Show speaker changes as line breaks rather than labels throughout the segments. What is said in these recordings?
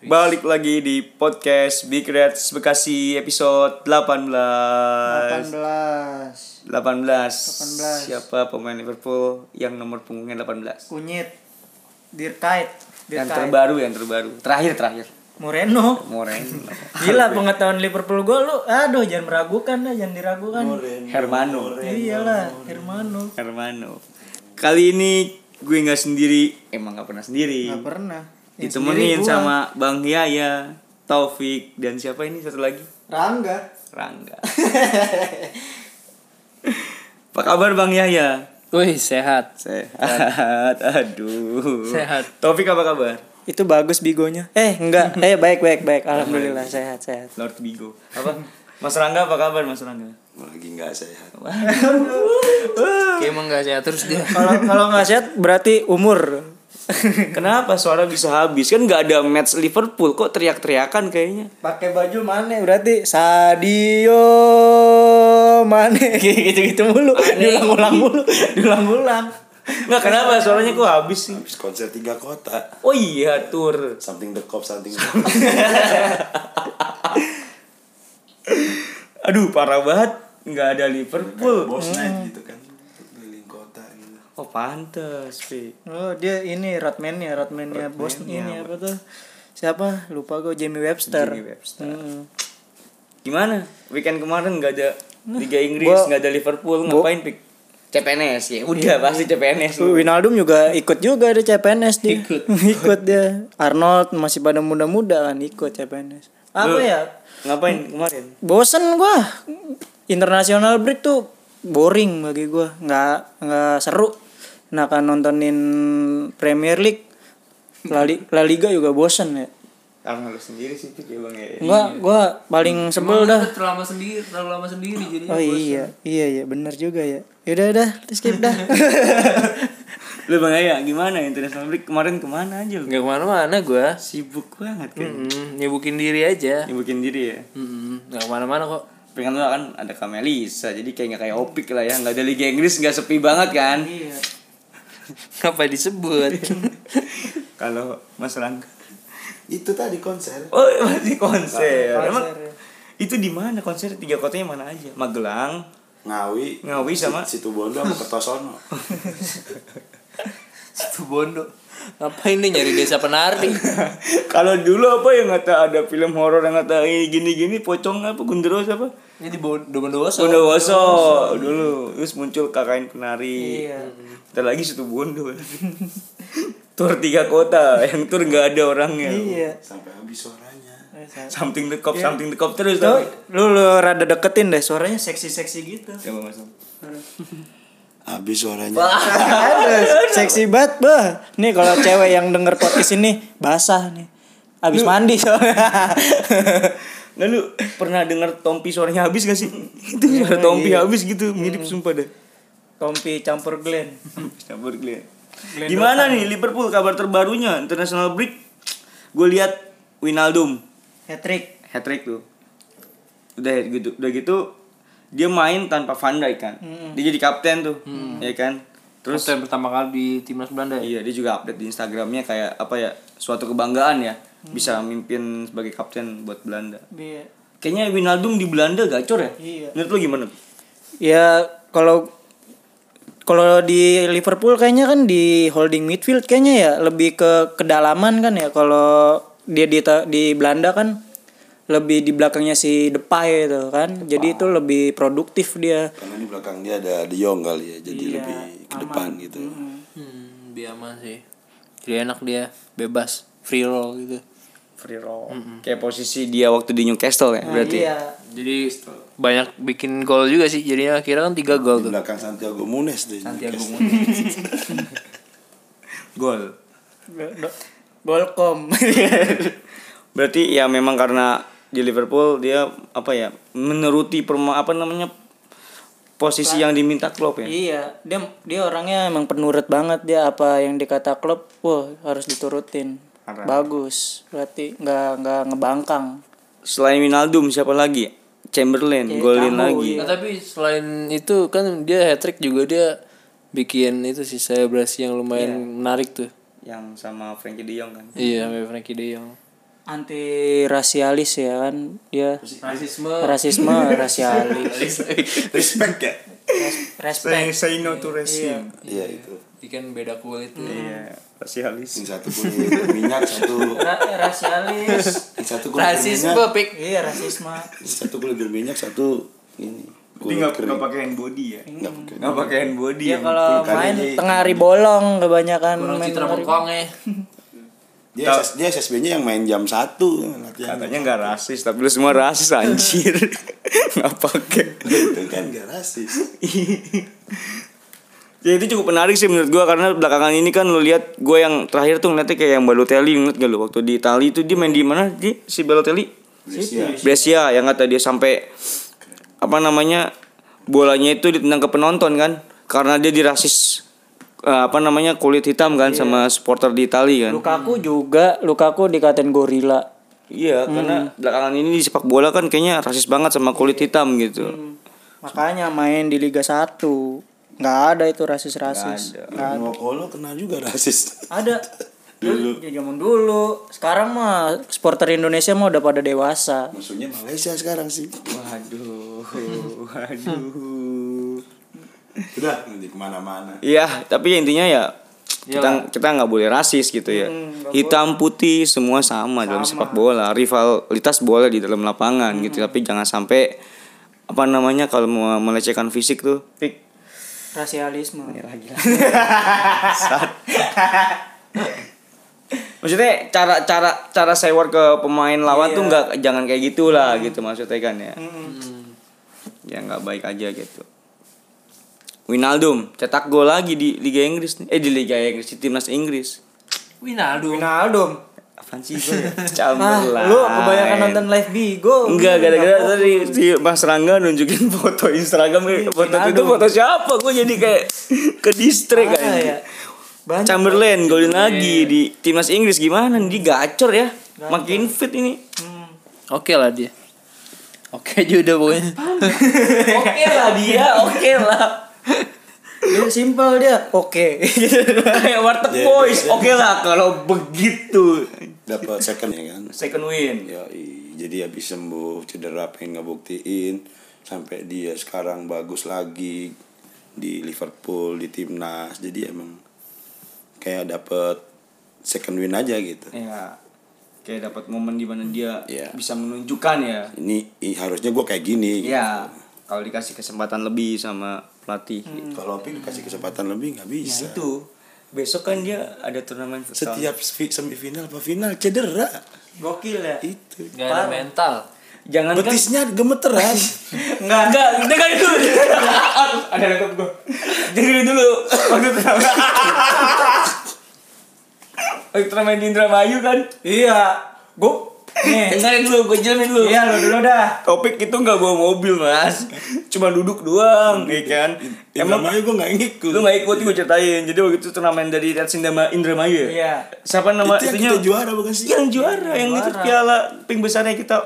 Balik lagi di podcast Big Reds Bekasi episode 18. 18.
18
Siapa pemain Liverpool yang nomor punggungnya 18?
Kunyit Dirkait
Yang
Dirkait
terbaru, yang terbaru. Terakhir, terakhir.
Moreno
Moreno.
Gila pengetahuan Liverpool gue lu Aduh jangan meragukan dah Jangan diragukan
Hermano.
Iyalah Hermano
Hermano. Kali ini gue nggak sendiri, emang nggak pernah sendiri.
Gak pernah Yang sendiri
Ditemenin
gua.
sama Bang Yaya, Taufik dan siapa ini satu lagi?
Rangga
Rangga. Apa kabar Bang Yahya?
Wih sehat
Sehat. Aduh.
Sehat.
Taufik apa kabar?
Itu bagus bigonya Eh enggak Eh baik baik baik Alhamdulillah sehat sehat
Lord Bigo. Apa? Mas Rangga apa kabar Mas Rangga?
lagi nggak sehat
Kayak emang gak sehat terus dia
Kalau kalau nggak sehat
Berarti umur
Kenapa suara bisa habis? Kan nggak ada match Liverpool kok teriak-teriakan kayaknya.
pakai baju mana berarti Sadio Mane gitu-gitu mulu diulang-ulang mulu diulang-ulang
Nggak kenapa suaranya kok habis sih?
habis konser tiga kota
Oh iya tur.
something the cop something
Aduh parah banget. Nggak ada Liverpool. Hmm.
bos naik gitu kan keliling kota gitu
Oh pantes Pi.
Oh dia ini Rodman-nya, Rodman-nya bos ini apa tuh? Siapa? Lupa gue Jamie Webster.
Jamie Webster.
Mm.
Gimana? Weekend kemarin nggak ada Liga Inggris, nggak ada Liverpool, ngapain pik? CPNS ya, udah pasti CPNS lu.
Winaldum juga ikut juga ada CPNS dia. Ikut. dia. Arnold masih pada muda-muda kan ikut CPNS. Apa
Lu-
ya?
Ngapain kemarin?
Bosen gua. International break tuh boring bagi gua. Nggak nggak seru. Nah kan nontonin Premier League La, Li- La Liga juga bosen ya.
Karena lu sendiri sih pik ya bang ya.
Gua gua paling sebel dah.
Terlalu lama sendiri Terlalu lama sendiri jadi
Oh iya, iya iya benar juga ya. Yaudah udah, skip dah.
Lu bang Aya gimana international break kemarin kemana aja lu?
Gak kemana-mana gue
Sibuk banget kan.
hmm, Nyibukin diri aja
Nyibukin diri ya.
hmm, Gak kemana-mana kok
Pengen lu kan ada Kamelisa, jadi kayak nggak kayak Opik lah ya, nggak ada Liga Inggris, nggak sepi banget kan?
Apa disebut
Kalau Mas Rangga.
itu tadi konser
Oh masih konser. ya. Emang itu di mana konser tiga kotanya mana aja? Magelang,
ngawi
Ngawi sama-
situ bondo sama kertosono
Situ bondo Ngapain nih nyari desa penari
Kalau dulu apa yang kata ada film horor yang kata ini gini-gini pocong apa gunderos apa?
Ini bondo-bondo
Bondowoso dulu terus muncul kakain penari. Iya. Bentar lagi situ bondo. tur tiga kota yang tur nggak ada orangnya.
iya.
sampai habis suaranya
Something the cop, something the cop terus
Lu,
tapi.
lu, lu rada deketin deh, suaranya seksi-seksi gitu.
Coba masuk.
habis suaranya
Ada seksi banget, bah. Nih kalau cewek yang denger podcast ini basah nih. Abis mandi soalnya.
Nah lu pernah dengar Tompi suaranya habis gak sih? Itu suara Tompi habis gitu, mirip sumpah deh.
Tompi campur Glen.
Campur Glenn. Gimana nih Liverpool kabar terbarunya international break? Gue lihat Winaldum
Hattrick.
hat trick tuh. Udah gitu, udah gitu dia main tanpa Van Dijk kan. Dia jadi kapten tuh, ya kan? Terus
Terus yang pertama kali di timnas Belanda ya
iya dia juga update di Instagramnya kayak apa ya suatu kebanggaan ya bisa mimpin sebagai kapten buat Belanda.
Iya.
Kayaknya Winaldum di Belanda gacor ya?
Iya.
Menurut lu gimana?
Ya kalau kalau di Liverpool kayaknya kan di holding midfield kayaknya ya lebih ke kedalaman kan ya kalau dia di ta- di Belanda kan lebih di belakangnya si Depay itu kan. Jadi itu lebih produktif dia.
karena di belakang dia ada De Jong kali ya jadi
Iya.
lebih ke depan gitu
Hmm, Biama sih Jadi enak dia Bebas Free roll gitu
Free roll. Kayak posisi dia waktu di Newcastle
Nah.
ya berarti.
Iya.
Jadi banyak bikin gol juga sih. Jadinya akhirnya kan 3 gol
di
tuh.
belakang Santiago Munes deh
Santiago
Newcastle.
Munes.
Gol.
Bolkom.
Berarti ya memang karena di Liverpool dia apa ya menuruti perma apa namanya posisi yang diminta Klopp ya.
iya, dia dia orangnya emang penurut banget dia apa yang dikata klub, wah harus diturutin.
Parah.
Bagus, berarti nggak nggak ngebangkang.
Selain Winaldum siapa lagi? Chamberlain golin
ya.
lagi.
iya.
Nah, tapi selain itu kan dia hat trick juga dia bikin itu sih selebrasi yang lumayan menarik tuh.
Yang sama Frankie De Jong kan.
Iya, sama Frankie De Jong.
Anti rasialis ya kan dia
Rasisme.
rasisme rasialis
Respect ya.
respect
say no to racism.
Iya itu.
Ikan beda kulit tuh.
Iya, rasialis.
Yang satu kulit berminyak, satu
Ra- rasialis
yang satu
Nah.
kulit
Rasisme
berminyak,
pik.
iya rasisme
yang satu kulit berminyak, satu ini kulit
Tapi nggak
kering.
nggak pakai body ya.
Nggak pakai.
Nggak pakai body. ya,
dia kalau
Bukan
main
ini.
tengah hari bolong kebanyakan
Orang
main
citra
tengah hari-
bengkong ya.
Dia SS, dia SSB-nya yang main jam satu Nah,
Ya,
latihan.
katanya nggak rasis, tapi lu semua rasis anjir. Nggak pakai.
itu kan gak rasis.
Ya itu cukup menarik sih menurut gua karena belakangan ini kan lu lihat gue yang terakhir tuh ngeliatnya kayak yang Balotelli ngeliat gak lu waktu di Itali itu dia main di mana sih si Balotelli?
Brescia.
Brescia yang kata dia sampai apa namanya bolanya itu ditendang ke penonton kan karena dia dirasis eh, apa namanya kulit hitam kan sama supporter di Itali kan.
Lukaku juga Lukaku dikatain gorila
Iya karena belakangan ini di sepak bola kan kayaknya rasis banget sama kulit hitam gitu.
makanya main di Liga 1 nggak ada itu rasis rasis
Nah.
Mau kolo kena juga rasis.
ada dulu ya, zaman dulu sekarang mah supporter Indonesia mah udah pada dewasa
Maksudnya Malaysia sekarang sih.
Waduh, waduh.
Udah nanti kemana-mana.
Iya, tapi ya intinya ya kita kita nggak boleh rasis gitu ya. Hitam putih semua sama, dalam sepak bola. Rivalitas boleh di dalam lapangan gitu, tapi jangan sampai apa namanya kalau mau melecehkan fisik tuh. Pik.
rasialisme
Maksudnya cara cara cara sewar ke pemain lawan tuh nggak jangan kayak gitulah gitu maksudnya kan ya. Ya nggak baik aja gitu. Winaldum cetak gol lagi di Liga Inggris nih. Eh di Liga Inggris di timnas Inggris.
Winaldo.
Ronaldo
Apaan sih gue ya?
ah
Chamberlain.
lu kebanyakan nonton live Bigo
Enggak,
Lu
gara-gara
nggak
tadi si Mas Rangga nunjukin foto Instagram Foto itu
Ronaldo.
foto siapa? Gue jadi kayak ke distrik
fokus. Ah, ya.
kan
banyak
Chamberlain golin lagi di timnas Inggris gimana nih dia Iya, gacor ya makin fit ini
Hmm.
Oke lah dia. Oke juga pokoknya.
oke lah dia oke lah
Dia simpel dia. Oke.
Kayak warteg
Jadi-
boys
jadi-
oke lah Nah, kalau begitu
Dapat second ya kan.
second win
Ya, jadi habis sembuh cedera pengen ngebuktiin sampai dia sekarang bagus lagi di Liverpool di timnas. Jadi emang kayak dapat second win aja gitu.
ya kayak dapat momen di mana dia
Iya.
bisa menunjukkan ya
Ini i- harusnya gue kayak gini. gitu.
ya kalau dikasih kesempatan lebih sama pelatih
Kalau Pink dikasih kesempatan lebih nggak
Nah,
bisa.
itu besok kan dia ada turnamen futsal.
Setiap fi- semifinal apa final cedera
Gokil ya.
itu.
Gak ada mental.
jangan kan
Betisnya gemeteran.
enggak enggak dengar dulu ada laptop gua dengerin dulu waktu turnamen waktu turnamen di Indramayu kan
Iya. Gue nih.
dengerin dulu gua jelasin dulu
Iya lu dulu dah.
topik itu nggak bawa mobil mas cuma duduk doang ya kan
Emang
emang
aja gue nggak ngikut.
lu nggak ikut gue ceritain jadi waktu itu turnamen dari Reds Indama- Indramayu ya
Iya.
siapa nama
itu
itunya?
yang Kan kita juara bukan sih?
yang juara yang itu piala pink besarnya kita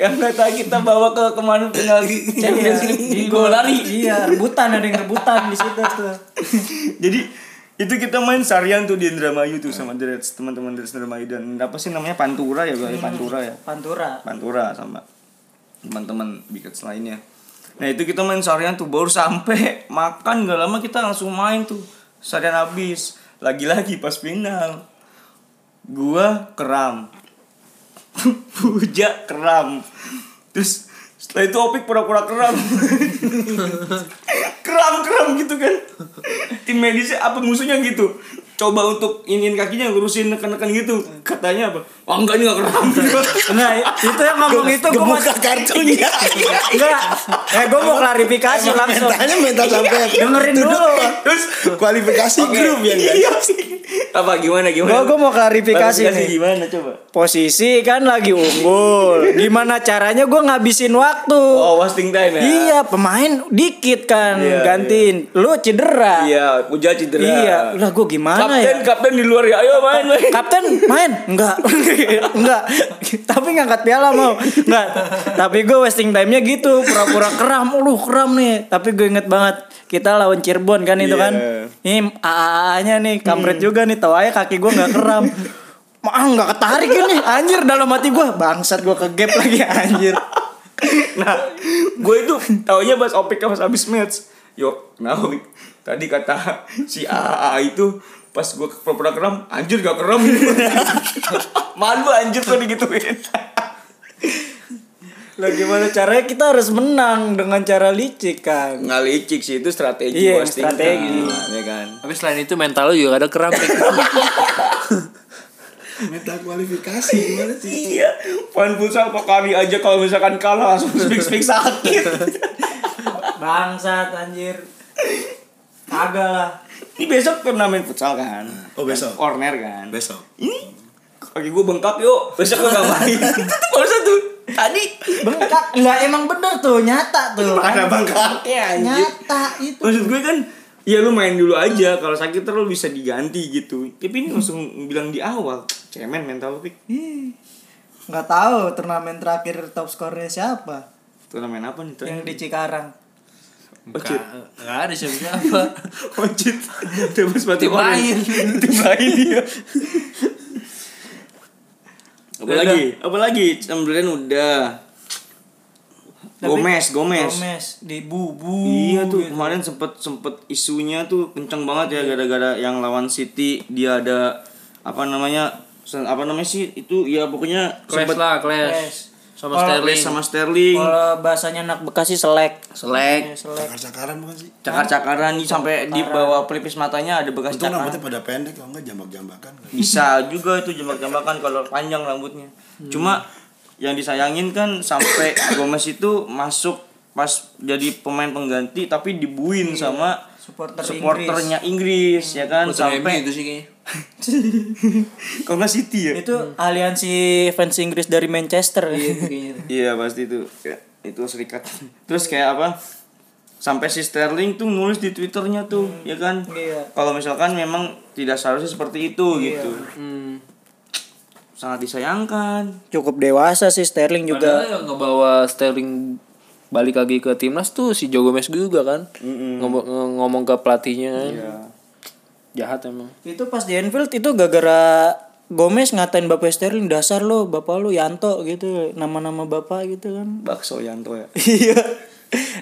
yang kata kita bawa ke kemana final Champions League Iya, di gol lari
Iya, rebutan ada yang rebutan di situ tuh.
jadi itu kita main sarian tuh di Indramayu tuh sama The Reds teman-teman dari Indramayu dan apa sih namanya Pantura ya gue Pantura ya
Pantura.
Pantura sama teman-teman Bikers lainnya nah itu kita main sarian tuh baru sampai makan gak lama kita langsung main tuh sarian habis lagi-lagi pas final gua keram Puja keram terus setelah itu Opik pura-pura keram keram keram gitu kan tim medisnya apa musuhnya gitu coba untuk ingin kakinya ngurusin neken-neken gitu katanya apa wah enggak ini enggak keram
Nah, itu yang ngomong itu gue
Gemuka
masih Iya,
kartunya.
enggak. Eh, gue mau klarifikasi langsung.
Mentalnya mental sampai
Dengerin dulu.
kualifikasi grup yang nggak
Iya. Apa gimana
Gua
gimana?
gua mau klarifikasi
Klarifikasi
nih.
gimana coba?
Posisi kan lagi unggul. Gimana caranya gua ngabisin waktu?
Oh, wasting time ya.
Iya, pemain dikit kan
Iya,
gantiin. Lu cedera.
Iya, Puja cedera.
Iya, lah gua gimana
kapten,
ya?
kapten di luar ya. Ayo main, main.
Kapten main? Enggak. Enggak. Tapi ngangkat piala mau. Enggak. Tapi gue wasting time-nya gitu, pura-pura kram. Lu kram nih. Tapi gue inget banget kita lawan Cirebon kan itu
Iya.
kan. Ini AAA-nya nih, kampret
Hmm.
juga nih. Tahu aja kaki gue nggak kram. Mah nggak ketarik ini. Anjir dalam hati gue bangsat gue ke gap lagi anjir.
Nah, gue itu taunya pas opik pas abis match. Yo, nah Opik, tadi kata si AAA itu pas gue ke pura keram, anjir gak keram. Malu anjir tuh digituin.
Lah gimana caranya kita harus menang dengan cara licik kan.
Ngalicik sih itu strategi
Iya,
wasting time,
strategi.
ya kan.
Tapi selain itu mental lu juga ada keram. Pik.
Meta kualifikasi gimana sih?
Iya, fan futsal Pokari aja kalau misalkan kalah langsung speak speak sakit.
Bangsat anjir. Kagak lah.
Ini besok turnamen futsal kan?
Oh, besok.
Corner kan?
Besok.
Ini kaki gue bengkak yuk, besok gue gak main. Itu baru satu. Tadi
bengkak lah emang bener tuh nyata tuh kan?
Mana bengkaknya, anjir?
nyata itu
maksud gue kan ya lu main dulu aja kalau sakit terus bisa diganti gitu tapi ini langsung bilang di awal cemen mental pick
nggak tahu turnamen terakhir top skornya siapa
turnamen apa nih tuh
yang di Cikarang
Ocit
Enggak ada siapa-siapa.
Ocit Tebus batu
Tim lain.
Tim lain dia Apalagi Apalagi Chamberlain udah
Tapi-
Gomez Gomez
Gomez di bubu
Iya tuh
gitu.
kemarin sempet sempet isunya tuh kenceng banget ya gara-gara yang lawan City dia ada apa namanya sen- apa namanya sih itu ya pokoknya
Clash
sempet
lah, clash.
Clash.
Sama
Kalau
Sterling.
sama Sterling
kalau bahasanya anak Bekasi selek Iya,
selek
selek
Cakar-cakaran bukan sih?
Iya. cakar-cakaran nih sampai di bawah pelipis matanya ada bekas
Untung
cakar
rambutnya Nah, pada pendek kalau enggak jambak-jambakan.
bisa juga itu jembak-jembakan kalau panjang rambutnya cuma yang disayangin kan sampai Gomez itu masuk pas jadi pemain pengganti tapi dibuin sama
Iya. supporter
supporternya Inggris, ya kan sampai
itu sih kayaknya.
Kalau nggak City ya?
Inggris. itu aliansi fans Inggris dari Manchester
Iya pasti itu. Ya, itu serikat. Terus kayak apa? Sampai si Sterling tuh nulis di twitternya tuh, ya kan?
Iya.
Kalau misalkan memang tidak seharusnya seperti itu gitu.
Hmm.
Sangat disayangkan.
cukup dewasa sih Sterling
Padahal
juga
yang ngebawa Sterling balik lagi ke timnas tuh si Joe Gomez juga kan. Ngom- nge- ngomong ke pelatihnya kan.
Iya.
Jahat emang.
itu pas di Anfield itu gara-gara Gomez ngatain bapak Sterling dasar lo bapak lo Yanto gitu nama-nama bapak gitu kan
Bakso Yanto ya.
Iya.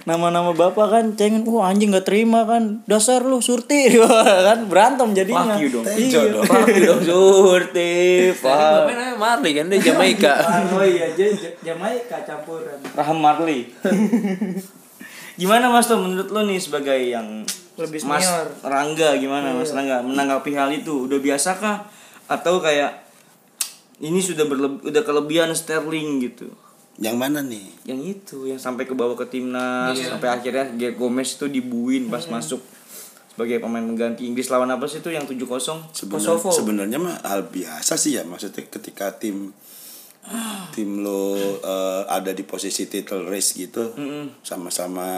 Nama-nama bapak kan cengin, wah anjing gak terima kan. Dasar lu surti Wah, kan berantem jadinya.
Fuck you dong.
Iya.
Fuck you dong, surti. Fuck.
Tapi namanya Marley kan dia Jamaika.
Oh iya, J- J- Jamaika campuran.
Raham Marley. gimana Mas tuh menurut lo nih sebagai yang
Lebih
Mas
senior. Iya.
Rangga gimana Mas Rangga menanggapi hal itu udah biasa kah atau kayak ini sudah berleb- udah kelebihan Sterling gitu.
Yang mana nih?
Yang itu yang sampai ke bawah ke timnas
Iya.
sampai akhirnya dia Gomez itu dibuin pas masuk sebagai pemain pengganti Inggris lawan apa sih itu yang 7-0?
Sebenar- sebenarnya mah hal biasa sih ya maksudnya ketika tim tim lo eh, ada di posisi title race gitu sama-sama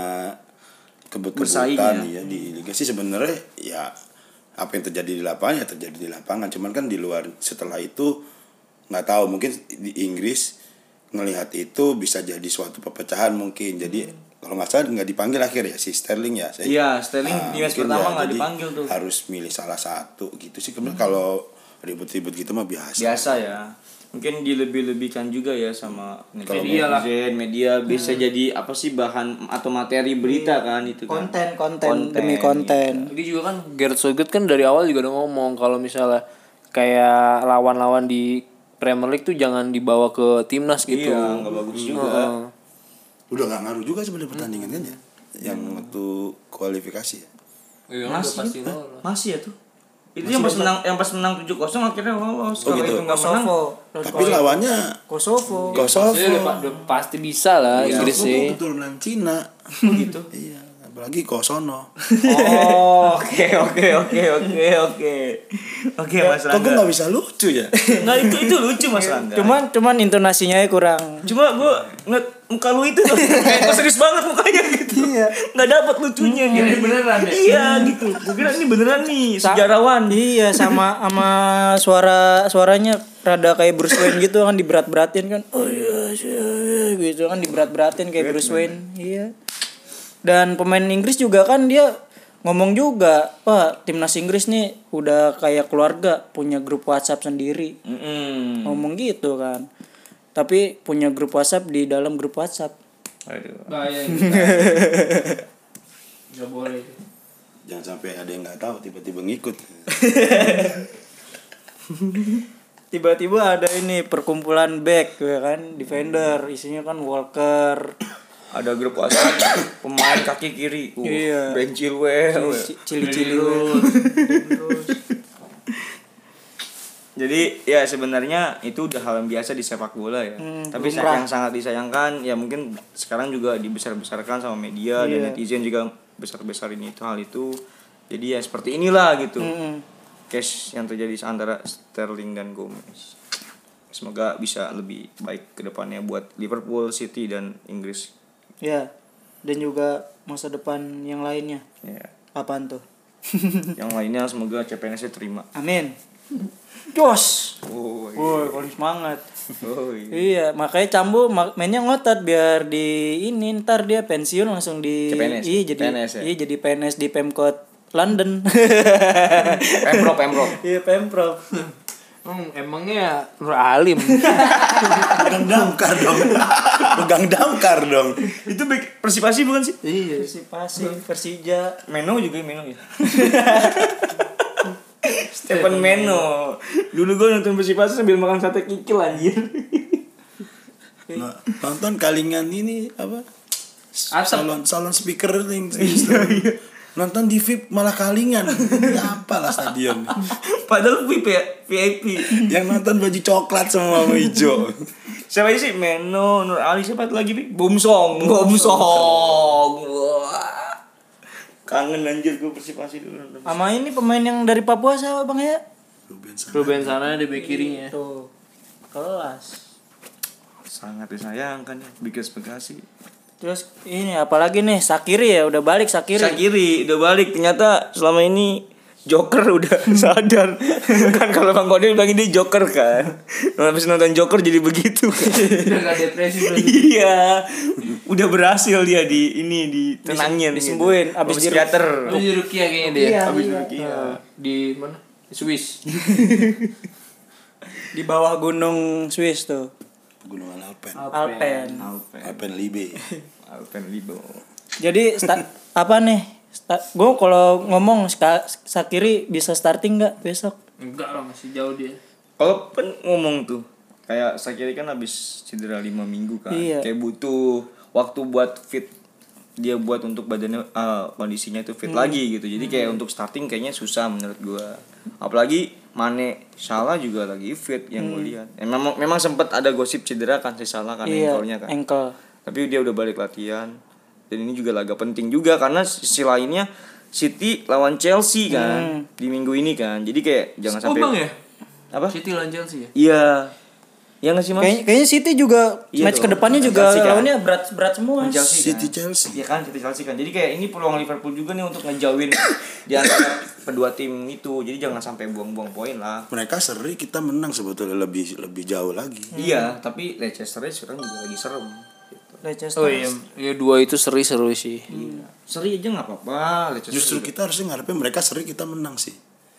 Bersaing
kebut-kebutan ya. di liga sih sebenarnya ya apa yang terjadi di lapangan ya terjadi di lapangan cuman kan di luar setelah itu nggak tahu mungkin di Inggris ngelihat itu bisa jadi suatu perpecahan mungkin jadi kalau nggak salah nggak dipanggil akhir ya si Sterling ya saya
Mm. Iya, Sterling
Ah,
di match
mungkin
pertama
ya,
nggak
jadi
dipanggil tuh. Hmm.
harus milih salah satu gitu sih kemudian kalau ribut-ribut gitu mah biasa,
biasa ya mungkin dilebih-lebihkan juga ya sama
media
netizen
lah.
media Hmm. bisa jadi apa sih bahan atau materi berita kan itu kan.
Konten, konten, demi konten.
Jadi juga kan Gareth Southgate kan dari awal juga udah ngomong kalau misalnya kayak lawan-lawan di Premier League tuh jangan dibawa ke timnas gitu.
gitu.
eh,
iya nggak bagus juga
Heeh.
udah nggak ngaruh juga sebenarnya pertandingan kan
Hmm.
ya yang waktu kualifikasi ya
iya,
masih
gitu.
Hah? masih ya tuh itu yang pas menang yang pas menang tujuh kosong akhirnya lolos kalau
gitu.
itu nggak menang
Kosovo.
tapi lawannya
Kosovo.
Iya,
Iya,
Kosovo Iya,
Pasti bisa lah Inggris sih.
keturunan Cina
gitu
iya apalagi Kosono
Oh, oke oke oke oke oke. Oke Mas
kok gue
Rangga.
nggak bisa lucu ya
Nah, itu itu lucu Mas Rangga. Cuma
Cuman cuman intonasinya aja kurang.
cuma gue ngeliat muka lu itu kayak gua serius banget mukanya gitu. Iya. Enggak dapat lucunya gitu. beneran ya? Iya gitu. Gue kira ini beneran nih
Sa-
sejarawan.
Iya sama sama suara suaranya rada kayak Bruce Wayne gitu kan diberat-beratin kan. Oh iya, iya, gitu kan diberat-beratin kayak Bruce Wayne. Iya. Dan pemain Inggris juga kan dia ngomong juga, "Wah, timnas Inggris nih udah kayak keluarga, punya grup WhatsApp sendiri."
Mm-mm.
Ngomong gitu kan. Tapi punya grup WhatsApp di dalam grup WhatsApp.
Aduh.
Bahaya. Gak boleh.
jangan sampai ada yang nggak tahu tiba-tiba ngikut
tiba-tiba ada ini perkumpulan back ya kan defender isinya kan Walker
Ada grup WhatsApp pemain kaki kiri. Uh,
Iya.
Ben Chilwell.
cili cili
Jadi ya sebenarnya itu udah hal yang biasa di sepak bola ya.
Hmm,
Tapi sa-
lumrah.
yang sangat disayangkan ya mungkin sekarang juga dibesar-besarkan sama media dan
Iya.
netizen juga besar-besarin itu hal itu. Jadi ya seperti inilah gitu.
Hmm.
Case yang terjadi antara Sterling dan Gomez. Semoga bisa lebih baik ke depannya buat Liverpool, City dan Inggris.
ya dan juga masa depan yang lainnya
Ya.
apaan tuh
yang lainnya semoga CPNS terima.
amin jos
Oh, iya.
woi kalau semangat
Oh, iya.
iya makanya Cambu ma- mainnya ngotot biar di ini ntar dia pensiun langsung di
CPNS.
iya jadi
PNS ya?
iya jadi PNS di Pemkot London
Pemprov, Pemprov.
iya Pemprov
Hmm, emangnya Nur Alim.
pegang damkar dong pegang damkar dong
itu back persipasi bukan sih?
iya.
Persipasi Persija
Meno juga ya, Meno ya. Stephen Meno. Dulu gue nonton Persipasi sambil makan sate kikil anjir.
Nah, nonton kalingan ini apa
Atap.
salon salon speaker yang nonton di VIP malah kalingan Ini apa lah stadion
Padahal VIP ya, VIP.
yang nonton baju coklat semua sama hijau
Siapa aja sih? Meno, Nur Ali, siapa lagi? Bi? Bomsong. Bomsong. Wah. Kangen anjir gue Persipasi dulu nonton.
Sama ini pemain yang dari Papua siapa bang ya?
Ruben Santos.
Ruben sana di back kirinya.
Tuh kelas.
Sangat disayangkan ya, bikin Bekasi.
Terus ini apalagi nih Sakiri ya udah balik Sakiri.
Sakiri udah balik ternyata selama ini Joker udah
Hmm.
sadar kan kalau Bang Kodil bilang ini Joker kan habis nonton Joker jadi begitu
Udah gak depresi berarti.
iya udah berhasil dia di ini ditenangin
disembuhin,
gitu.
abis
Sama
di-
psikiater
Lu di Rukia kayaknya dia.
Iya,
Habis
iya.
Rukia. Di mana? Di Swiss.
Di bawah gunung Swiss tuh
pegunungan Alpen
Alpen.
Alpen
Alpen Libe
Alpen Libo
Jadi sta- apa nih? gue kalau ngomong Ska- Sakiri bisa starting nggak besok?
Enggak lah masih jauh dia.
kalau pen ngomong tuh kayak Sakiri kan habis cedera 5 minggu kan
Iya.
kayak butuh waktu buat fit dia buat untuk badannya ah, kondisinya itu fit
Hmm.
lagi gitu jadi kayak untuk starting kayaknya susah menurut gua apalagi Mane Salah juga lagi fit yang
Hmm.
gua lihat Eh, memang memang sempat ada gosip cedera kan si Salah kan
iya.
ankle-nya kan
Ankle.
tapi dia udah balik latihan dan ini juga laga penting juga karena sisi lainnya City lawan Chelsea
Hmm.
kan di minggu ini kan jadi kayak jangan
Oh
sampai
bang ya?
apa
City lawan Chelsea ya?
Iya. Iya gak sih mas?
Kayaknya, kayaknya City juga
Iya
match
dong.
kedepannya juga
Chelsea kan?
lawannya berat berat semua.
Chelsea kan?
City Chelsea
Iya kan City Chelsea kan. Jadi kayak ini peluang Liverpool juga nih untuk ngejauhin di antara kedua tim itu. Jadi jangan sampai buang-buang poin lah.
mereka seri kita menang sebetulnya lebih lebih jauh lagi
Iya, tapi Leicester sekarang juga lagi serem. Gitu.
Leicester.
Oh iya. Ya dua itu seri seru sih.
Seri aja nggak apa-apa. Leicester
Iya. justru
juga.
kita harusnya ngarepin mereka seri kita menang sih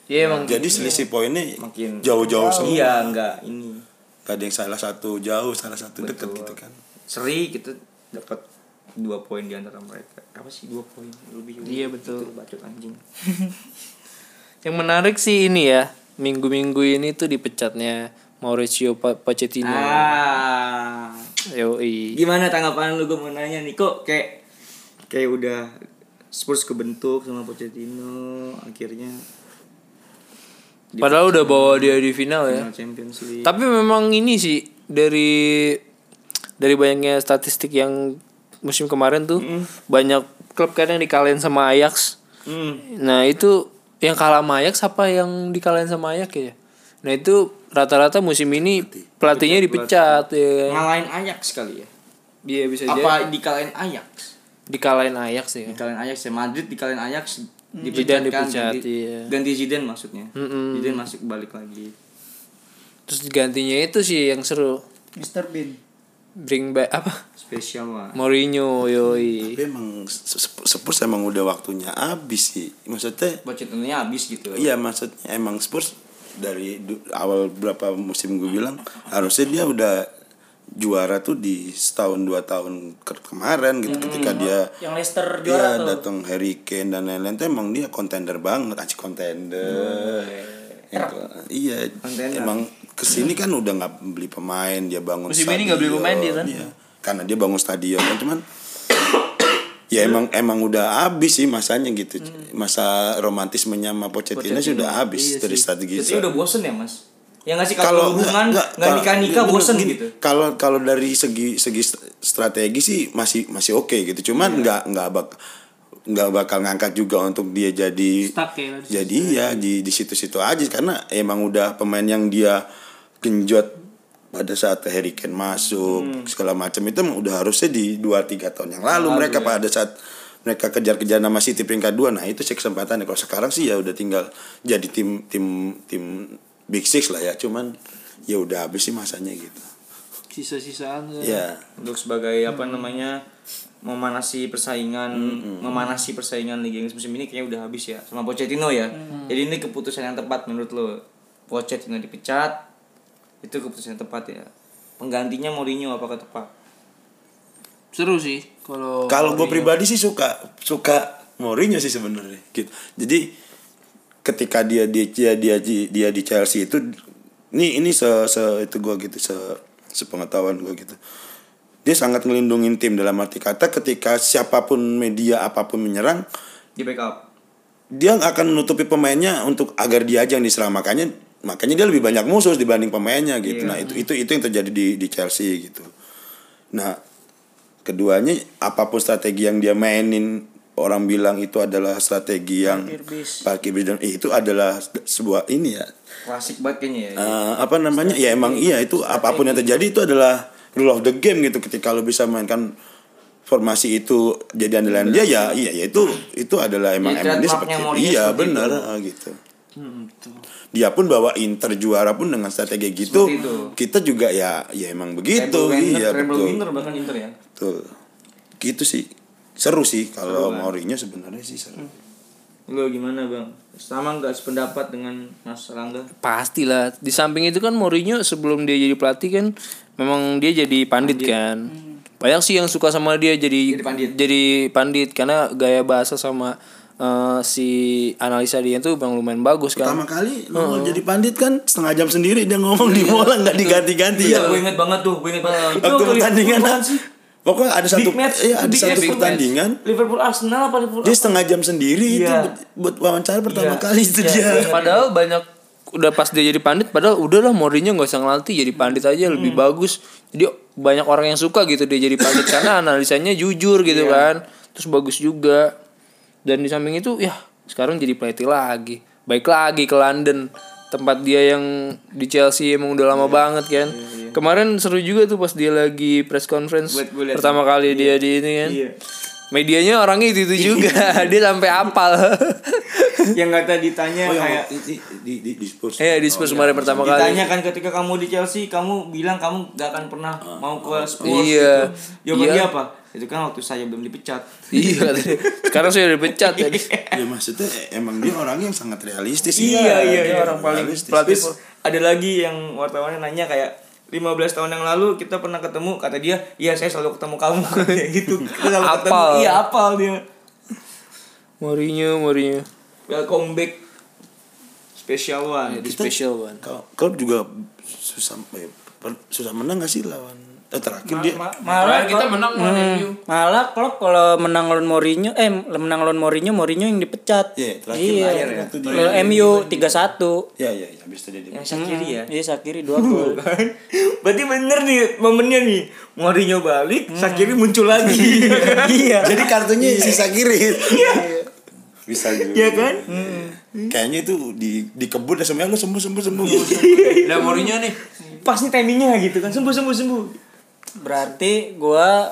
Iya emang.
jadi selisih poinnya
Makin-
jauh-jauh semua
Iya nggak ini
gak ada yang salah satu jauh salah satu dekat gitu kan
seri kita dapat dua poin di antara mereka. Apa sih dua poin lebih?
Iya, betul.
Itu Bacot anjing.
Yang menarik sih ini ya. Minggu-minggu ini tuh dipecatnya Mauricio Pa- Pochettino.
Ah.
Nah.
Yoi.
gimana tanggapan lu gue mau nanya nih kok kayak kayak udah Spurs kebentuk sama Pochettino akhirnya
Padahal udah bawa dia di final ya.
Hmm.
final Champions League
Tapi memang ini sih dari dari banyaknya statistik yang musim kemarin tuh
Hmm.
banyak klub kan yang dikalahin sama Ajax.
Hmm.
Nah, itu yang kalah sama Ajax apa yang dikalahin sama Ajax ya? Nah, itu rata-rata musim ini pelatihnya dipecat ya. kan?
ngalahin Ajax sekali ya
Iya bisa jadi
apa dikalahin Ajax
dikalahin Ajax ya.
dikalahin Ajax ya Madrid dikalahin Ajax
Zidane
dipecat kan
dipecat,
ganti,
iya.
ganti Zidane maksudnya Zidane masuk balik lagi
Terus gantinya itu sih yang seru.
Mr. Bean.
Bring back apa?
spesial lah
Mourinho yoi.
Tapi emang se- se- Spurs emang udah waktunya habis sih. Maksudnya
Pochettino-nya habis gitu
Iya maksudnya emang Spurs dari du- awal berapa musim gue bilang harusnya dia udah juara tuh di setahun dua tahun ke- kemarin gitu ketika dia
Yang Leicester
dia
juara tuh.
datang Iya, Harry Kane dan lain-lain tuh emang dia kontender banget aci kontender
Hmm,
Itu, iya emang kesini kan udah nggak beli pemain dia bangun
Musim ini nggak beli pemain dia kan?
iya. karena dia bangun stadion kan cuman ya emang emang udah habis sih masanya gitu
Hmm.
masa romantismenya sama Pochettino, sudah habis
Iya
dari strategi
Jadi Iya udah bosen ya mas Ya nggak sih
kalau
kalau hubungan
enggak,
nggak
kalau-
nikah nikah
bener,
bosen
gini,
gitu
Kalau kalau dari segi segi st- strategi sih masih masih oke gitu.
Iya.
Cuman nggak nggak bak nggak bakal ngangkat juga untuk dia jadi
Stuck ya, di
jadi ya di di situ-situ aja karena emang udah pemain yang dia genjot pada saat Harry Kane masuk
Hmm.
segala macam itu emang udah harusnya di 2 3 tahun yang lalu, mereka
ya.
pada saat mereka kejar-kejar nama City peringkat 2 nah itu sih kesempatannya kalau sekarang sih ya udah tinggal jadi tim tim tim Big Six lah ya cuman ya udah habis sih masanya gitu
Sisa-sisaan. kan.
ya
untuk sebagai apa
Hmm.
namanya memanasi persaingan memanasi persaingan Liga Inggris musim ini kayaknya udah habis ya sama Pochettino ya
Hmm.
jadi ini keputusan yang tepat menurut lo Pochettino dipecat itu keputusan yang tepat ya penggantinya Mourinho apakah tepat
Seru sih kalau
Kalau
Oh,
gue
Mourinho.
pribadi sih suka suka Mourinho sih sebenarnya gitu. Jadi ketika dia di dia dia di- dia di Chelsea itu ini ini se, se itu gue gitu se sepengetahuan gue gitu. Dia sangat ngelindungin tim dalam arti kata ketika siapapun media apapun menyerang
di backup
dia akan menutupi pemainnya untuk agar dia aja yang diserang makanya makanya dia lebih banyak musuh dibanding pemainnya
Iya.
gitu nah itu itu itu yang terjadi di di Chelsea gitu nah keduanya apapun strategi yang dia mainin orang bilang itu adalah strategi yang
Parkir bis.
parkir bis dan itu adalah sebuah ini ya
klasik banget kayaknya ya
eh, apa namanya ya emang iya itu apapun yang terjadi itu adalah rule of the game gitu ketika lo bisa mainkan formasi itu jadi andalan dia ya iya ya itu itu adalah emang
Jadi
emang dia
trademarknya
seperti
Mourinho
iya
seperti
benar ah, gitu
Hmm,
dia pun bawa Inter juara pun dengan strategi gitu
Seperti itu.
kita juga ya ya emang begitu
Treble winner,
iya
treble
betul
winner bahkan Inter ya
betul gitu sih seru sih kalau
kan?
Mourinho sebenarnya sih seru
lo gimana bang sama nggak sependapat dengan Mas Rangga
pastilah di samping itu kan Mourinho sebelum dia jadi pelatih kan memang dia jadi pandit, kan banyak sih yang suka sama dia jadi
Hmm. Jadi pandit.
jadi pandit karena gaya bahasa sama eh, si analisa dia tuh bang lumayan bagus kan
pertama kali lo mau jadi pandit kan setengah jam sendiri dia ngomong di mola nggak diganti-ganti ya
gue inget banget tuh gue inget banget
waktu
kali-
pertandingan pokoknya ada satu
Big match,
iya, ada
big
satu
match, big
pertandingan
match. Liverpool Arsenal apa Liverpool
dia setengah jam sendiri itu
Iya.
buat- buat wawancara pertama
Iya.
kali itu
Iya,
dia
iya.
padahal banyak udah pas dia jadi pandit padahal udahlah Mourinho nggak usah ngelatih jadi pandit aja lebih
Hmm.
bagus jadi banyak orang yang suka gitu dia jadi pandit karena analisanya jujur
Iya.
gitu kan terus bagus juga dan di samping itu ya sekarang jadi pelatih lagi baik lagi ke London tempat dia yang di Chelsea emang udah
Iya.
lama banget kan kemarin seru juga tuh pas dia lagi press conference
Buat gue liat.
pertama kali dia di ini kan
Iya.
medianya orangnya itu itu juga dia sampai apal
yang kata ditanya
oh yang
kayak
di di di, di, di Spurs Oh, iya.
ya di Spurs kemarin pertama kali
ditanya kan ketika kamu di Chelsea kamu bilang kamu gak akan pernah mau ke Spurs
Ah. Iya.
gitu. jawaban
Iya.
dia apa itu kan waktu saya belum dipecat
Iya katanya. Sekarang sudah dipecat tadi.
ya maksudnya emang dia orangnya yang sangat realistis
Iya, iya,
Dia
iya, orang paling
realistis.
pelatih ada lagi yang wartawannya nanya kayak 15 tahun yang lalu kita pernah ketemu kata dia iya saya selalu ketemu kamu kayak gitu kita selalu ketemu
Apal.
iya apal dia
Mourinho, Mourinho.
welcome back special
Iya,
one
Di special one.
Kalau- klub juga susah eh, per- susah menang gak sih lawan eh terakhir dia
Ma-
Malah
malah
kita
kok-
menang lawan MU.
malah klub kalau menang lawan Mourinho eh menang lawan Mourinho Mourinho yang dipecat
Iya, terakhir
iya
terakhir ya. Itu dia.
Lawan MU tiga satu
ya ya ya habis itu dia dia-
Yang Shakiri ya.
iya Sakiri dua gol
Berarti bener nih momennya nih. Mourinho balik,
Hmm.
Shakiri muncul lagi.
iya
jadi kartunya sisa kiri bisa juga
Iya kan?
kayaknya itu di dikebut ya semuanya lu sembuh sembuh sembuh
Iya.
Lah Mourinho nih.
Pas nih timingnya gitu kan. Sembuh sembuh sembuh.
berarti gua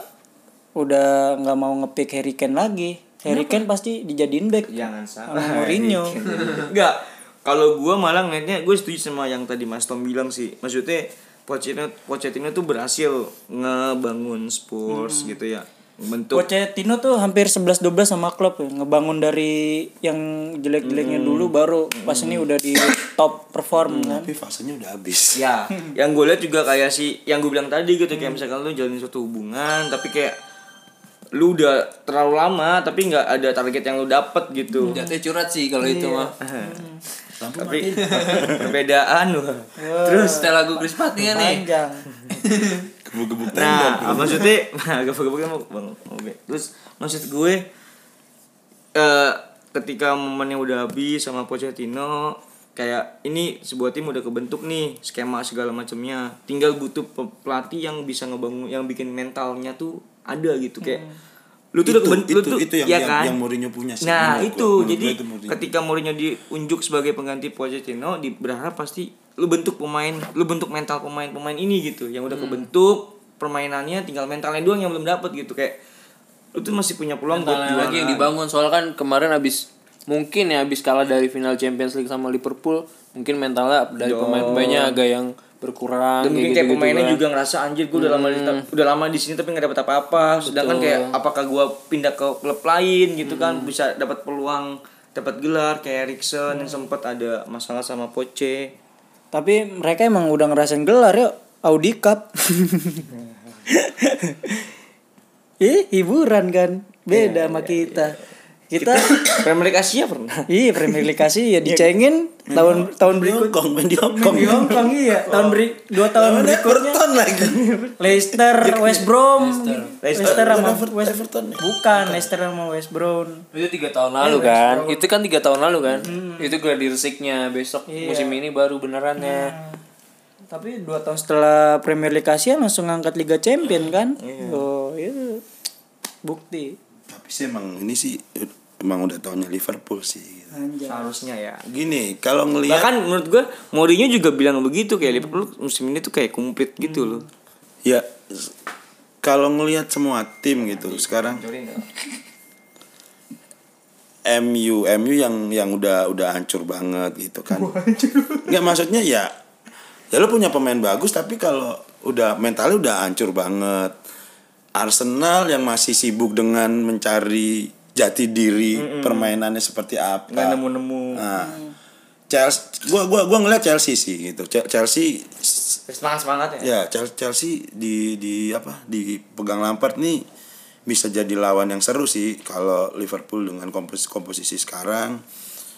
udah nggak mau ngepick Harry Kane lagi Harry Kane pasti dijadiin back
Jangan
sama
salah.
Mourinho
Enggak. Kalau gua malah ngeliatnya gue setuju sama yang tadi Mas Tom bilang sih. Maksudnya Pochettino, Pochettino tuh berhasil ngebangun Spurs gitu ya. Bentuk
Pochettino tuh hampir 11-12 sama klub ya. ngebangun dari yang jelek-jeleknya
Hmm.
dulu baru pas ini udah di top perform kan
tapi fasenya udah habis
ya yang gue lihat juga kayak si yang gue bilang tadi gitu kayak misalkan lu jalanin suatu hubungan tapi kayak lu udah terlalu lama tapi nggak ada target yang lu dapet gitu
Jatuh curhat sih kalau itu mah.
tapi perbedaan wah.
Terus setelah lagu Chris Patnia nih.
panjang
gebuk-gebuk tendon
nah maksudnya nah gak pakai mau bang oke terus maksud gue eh ketika momennya udah habis sama Pochettino kayak ini sebuah tim udah kebentuk nih skema segala macamnya tinggal butuh pe- pelatih yang bisa ngebangun yang bikin mentalnya tuh ada gitu kayak lu tuh udah
Hmm. Itu-
kebentuk lu
itu-
tuh
itu yang-
ya
yang-
kan?
yang Mourinho punya sih,
nah
menurut
itu
gua. Menurut
jadi
gua itu Mourinho.
ketika Mourinho diunjuk sebagai pengganti Pochettino di berharap pasti lu bentuk pemain lu bentuk mental pemain-pemain ini gitu
Hmm.
yang udah kebentuk permainannya tinggal mentalnya doang yang belum dapet gitu kayak lu tuh masih punya peluang buat
Tantangan
juara
lagi yang dibangun soalnya kan kemarin abis mungkin ya abis kalah dari final Champions League sama Liverpool mungkin mentalnya dari pemain-pemainnya agak yang berkurang
dan mungkin kayak
gitu-gitu
pemainnya
kan. Hmm.
juga ngerasa anjir gue udah lama di udah lama di sini tapi nggak dapat apa-apa sedangkan kayak apakah gue pindah ke klub lain gitu kan
Hmm.
bisa dapat peluang dapat gelar kayak Erikson yang
Hmm.
sempat ada masalah sama Poche
tapi mereka emang udah ngerasain gelar ya Audi Cup eh hiburan kan
Iya,
beda sama kita kita
Premier League Asia pernah
Iya Premier League Asia ya dicengin tahun tahun
Iya. di
berikut
Hongkong main di Hongkong
di Hong Kong iya tahun beri dua tahun berikutnya
Everton lagi Iya,
Leicester West Brom Leicester sama
Everton Everton ya.
bukan Leicester sama West Brom
itu tiga tahun lalu kan itu kan tiga tahun lalu kan itu gladiresik resiknya besok musim ini baru benerannya
tapi dua tahun setelah Premier League Asia langsung ngangkat Liga Champion kan oh itu bukti
tapi sih emang ini sih emang udah tahunnya Liverpool sih gitu.
Iya.
seharusnya ya
gini kalau ngelihat
bahkan Kan menurut gue Mourinho juga bilang begitu kayak Liverpool musim ini tuh kayak komplit
Hmm.
gitu loh
ya s- kalau ngelihat semua tim gitu sekarang MU MU yang yang udah udah hancur banget gitu kan nggak maksudnya ya ya lu punya pemain bagus tapi kalau udah mentalnya udah hancur banget Arsenal yang masih sibuk dengan mencari jati diri permainannya seperti apa
nggak nemu-nemu
Nah, Chelsea gua gua gua ngeliat Chelsea sih gitu Chel- Chelsea
semangat semangat ya
ya Chel- Chelsea di di apa di pegang Lampard nih bisa jadi lawan yang seru sih kalau Liverpool dengan kompos komposisi sekarang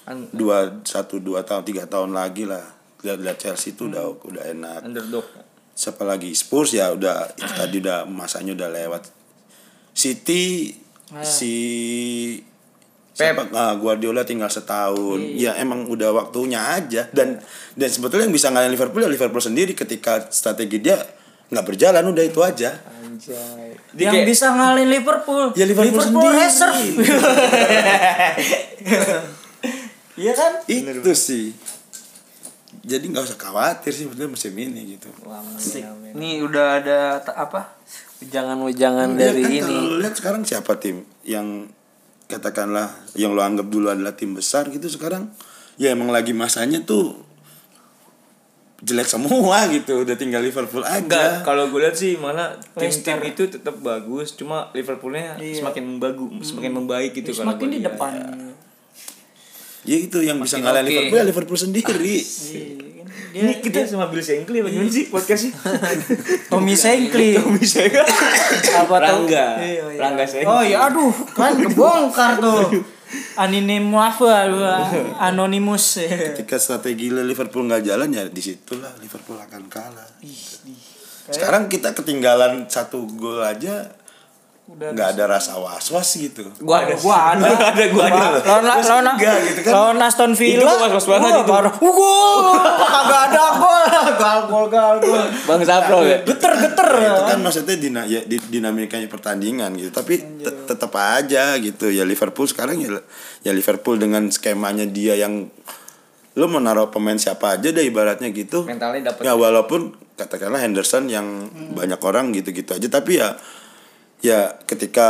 Un-
dua satu dua tahun tiga tahun lagi lah lihat lihat Chelsea itu udah udah enak
underdog
siapa lagi Spurs ya udah itu tadi udah masanya udah lewat City si siapa ah, Guardiola tinggal setahun ya emang udah waktunya aja dan dan sebetulnya yang bisa ngalahin Liverpool ya Liverpool sendiri ketika strategi dia nggak berjalan udah itu aja
Dia kayak-
yang bisa ngalahin Liverpool
Ya, Liverpool sendiri.
reserve iya kan
itu sih jadi nggak usah khawatir sih sebetulnya musim ini gitu
ini udah ada ta- apa ujangan-ujangan
Ya
dari
kan
ini
kalau lu lihat sekarang siapa tim yang katakanlah yang lo anggap dulu adalah tim besar gitu sekarang ya emang lagi masanya tuh jelek semua gitu udah tinggal Liverpool
Enggak,
aja
kalau gue lihat sih malah tim-tim itu tetap bagus, cuma Liverpoolnya semakin membagu, semakin membaik gitu kalau
Iya. Hmm. semakin
gua
di
lihat.
depan Iya,
ya itu yang bisa ngalahin
oke. Ah,
Liverpool ya Liverpool sendiri
Iya, kan? dia,
Ini kita sama Bill Shankly apa gimana sih podcastnya?
Tommy Shankly
Tommy Shankly.
apa tau-
Rangga.
Iya, iya.
Rangga Shankly.
oh iya aduh kan kebongkar tuh Anime Muafa, Anonymous.
ketika strategi Liverpool nggak jalan ya disitulah Liverpool akan kalah sekarang kita ketinggalan satu gol aja nggak ada rasa was was gitu
Gua ada, gua ada, ada, gua ada.
lawan lawan lawan Aston Villa.
gua was-was banget
Wah,
itu.
parah. Uh, Gol. Kagak ada gol. Gal gol gal gol.
Bang Sapro ya.
Geter geter.
itu kan maksudnya dina, ya, di- dinamikanya pertandingan gitu tapi te- tetap aja gitu ya Liverpool sekarang ya ya Liverpool dengan skemanya dia yang lo mau naruh pemain siapa aja deh ibaratnya gitu
Mentalnya dapet.
ya walaupun katakanlah Henderson yang banyak orang gitu-gitu aja tapi ya ya ketika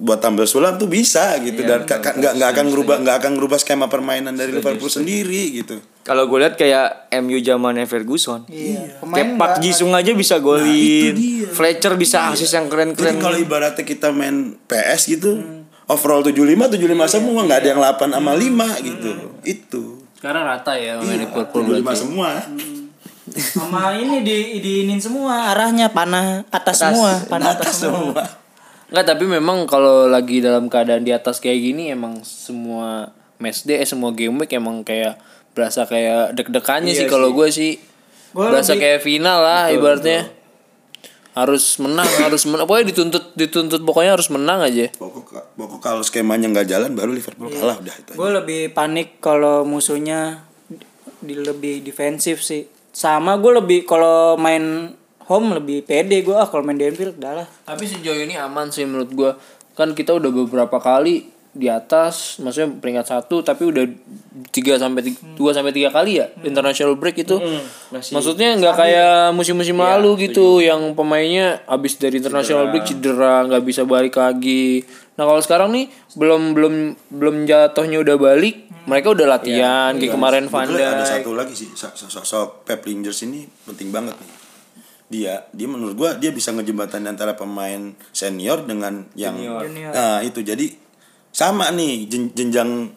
buat tampil sulam tuh bisa gitu dan ka- ka- nggak nggak akan ngerubah nggak akan ngerubah skema permainan dari Liverpool sendiri gitu
Kalau gue lihat kayak MU zamannya Ferguson.
Iya. Nah,
Kayak Park Jisung aja bisa golin. Fletcher
Iya.
bisa asis yang keren-keren.
Jadi kalau ibaratnya kita main PS gitu, overall 75 75
Iya,
semua, nggak ada yang 8
Hmm.
sama 5 gitu. Itu.
Sekarang rata ya sama
Iya.
Liverpool
75
berarti.
semua.
Hmm. sama ini di diinin semua arahnya panah atas, semua, panah atas, semua.
Enggak, tapi memang kalau lagi dalam keadaan di atas kayak gini emang semua match day, eh, semua game week emang kayak berasa kayak deg-degannya
Iya
sih kalau gue sih.
Gua
berasa
lebih-
kayak final lah ibaratnya. Harus menang, harus menang. Pokoknya dituntut dituntut pokoknya harus menang aja.
Pokok pokok kalau skemanya nggak jalan baru Liverpool
Iya.
kalah udah itu. aja.
Gue lebih panik kalau musuhnya di lebih defensif sih. Sama gue lebih kalau main home lebih pede gue ah kalau main di Anfield udah lah.
Tapi sejauh ini aman sih menurut gua. Kan kita udah beberapa kali di atas, maksudnya peringkat satu, tapi udah tiga sampai ti- dua sampai tiga kali ya international break itu. Maksudnya nggak kayak musim-musim lalu gitu, yang pemainnya abis dari international break cedera, nggak bisa balik lagi. Nah kalau sekarang nih belum belum belum jatuhnya udah balik, mereka udah latihan kayak
iya.
kemarin Van
Sebetulnya ada
Dijk.
satu lagi sih so- so- sosok Pep Lingers ini penting banget nih. Dia dia menurut gua dia bisa ngejembatan antara pemain senior dengan yang nah itu jadi sama nih jen- jenjang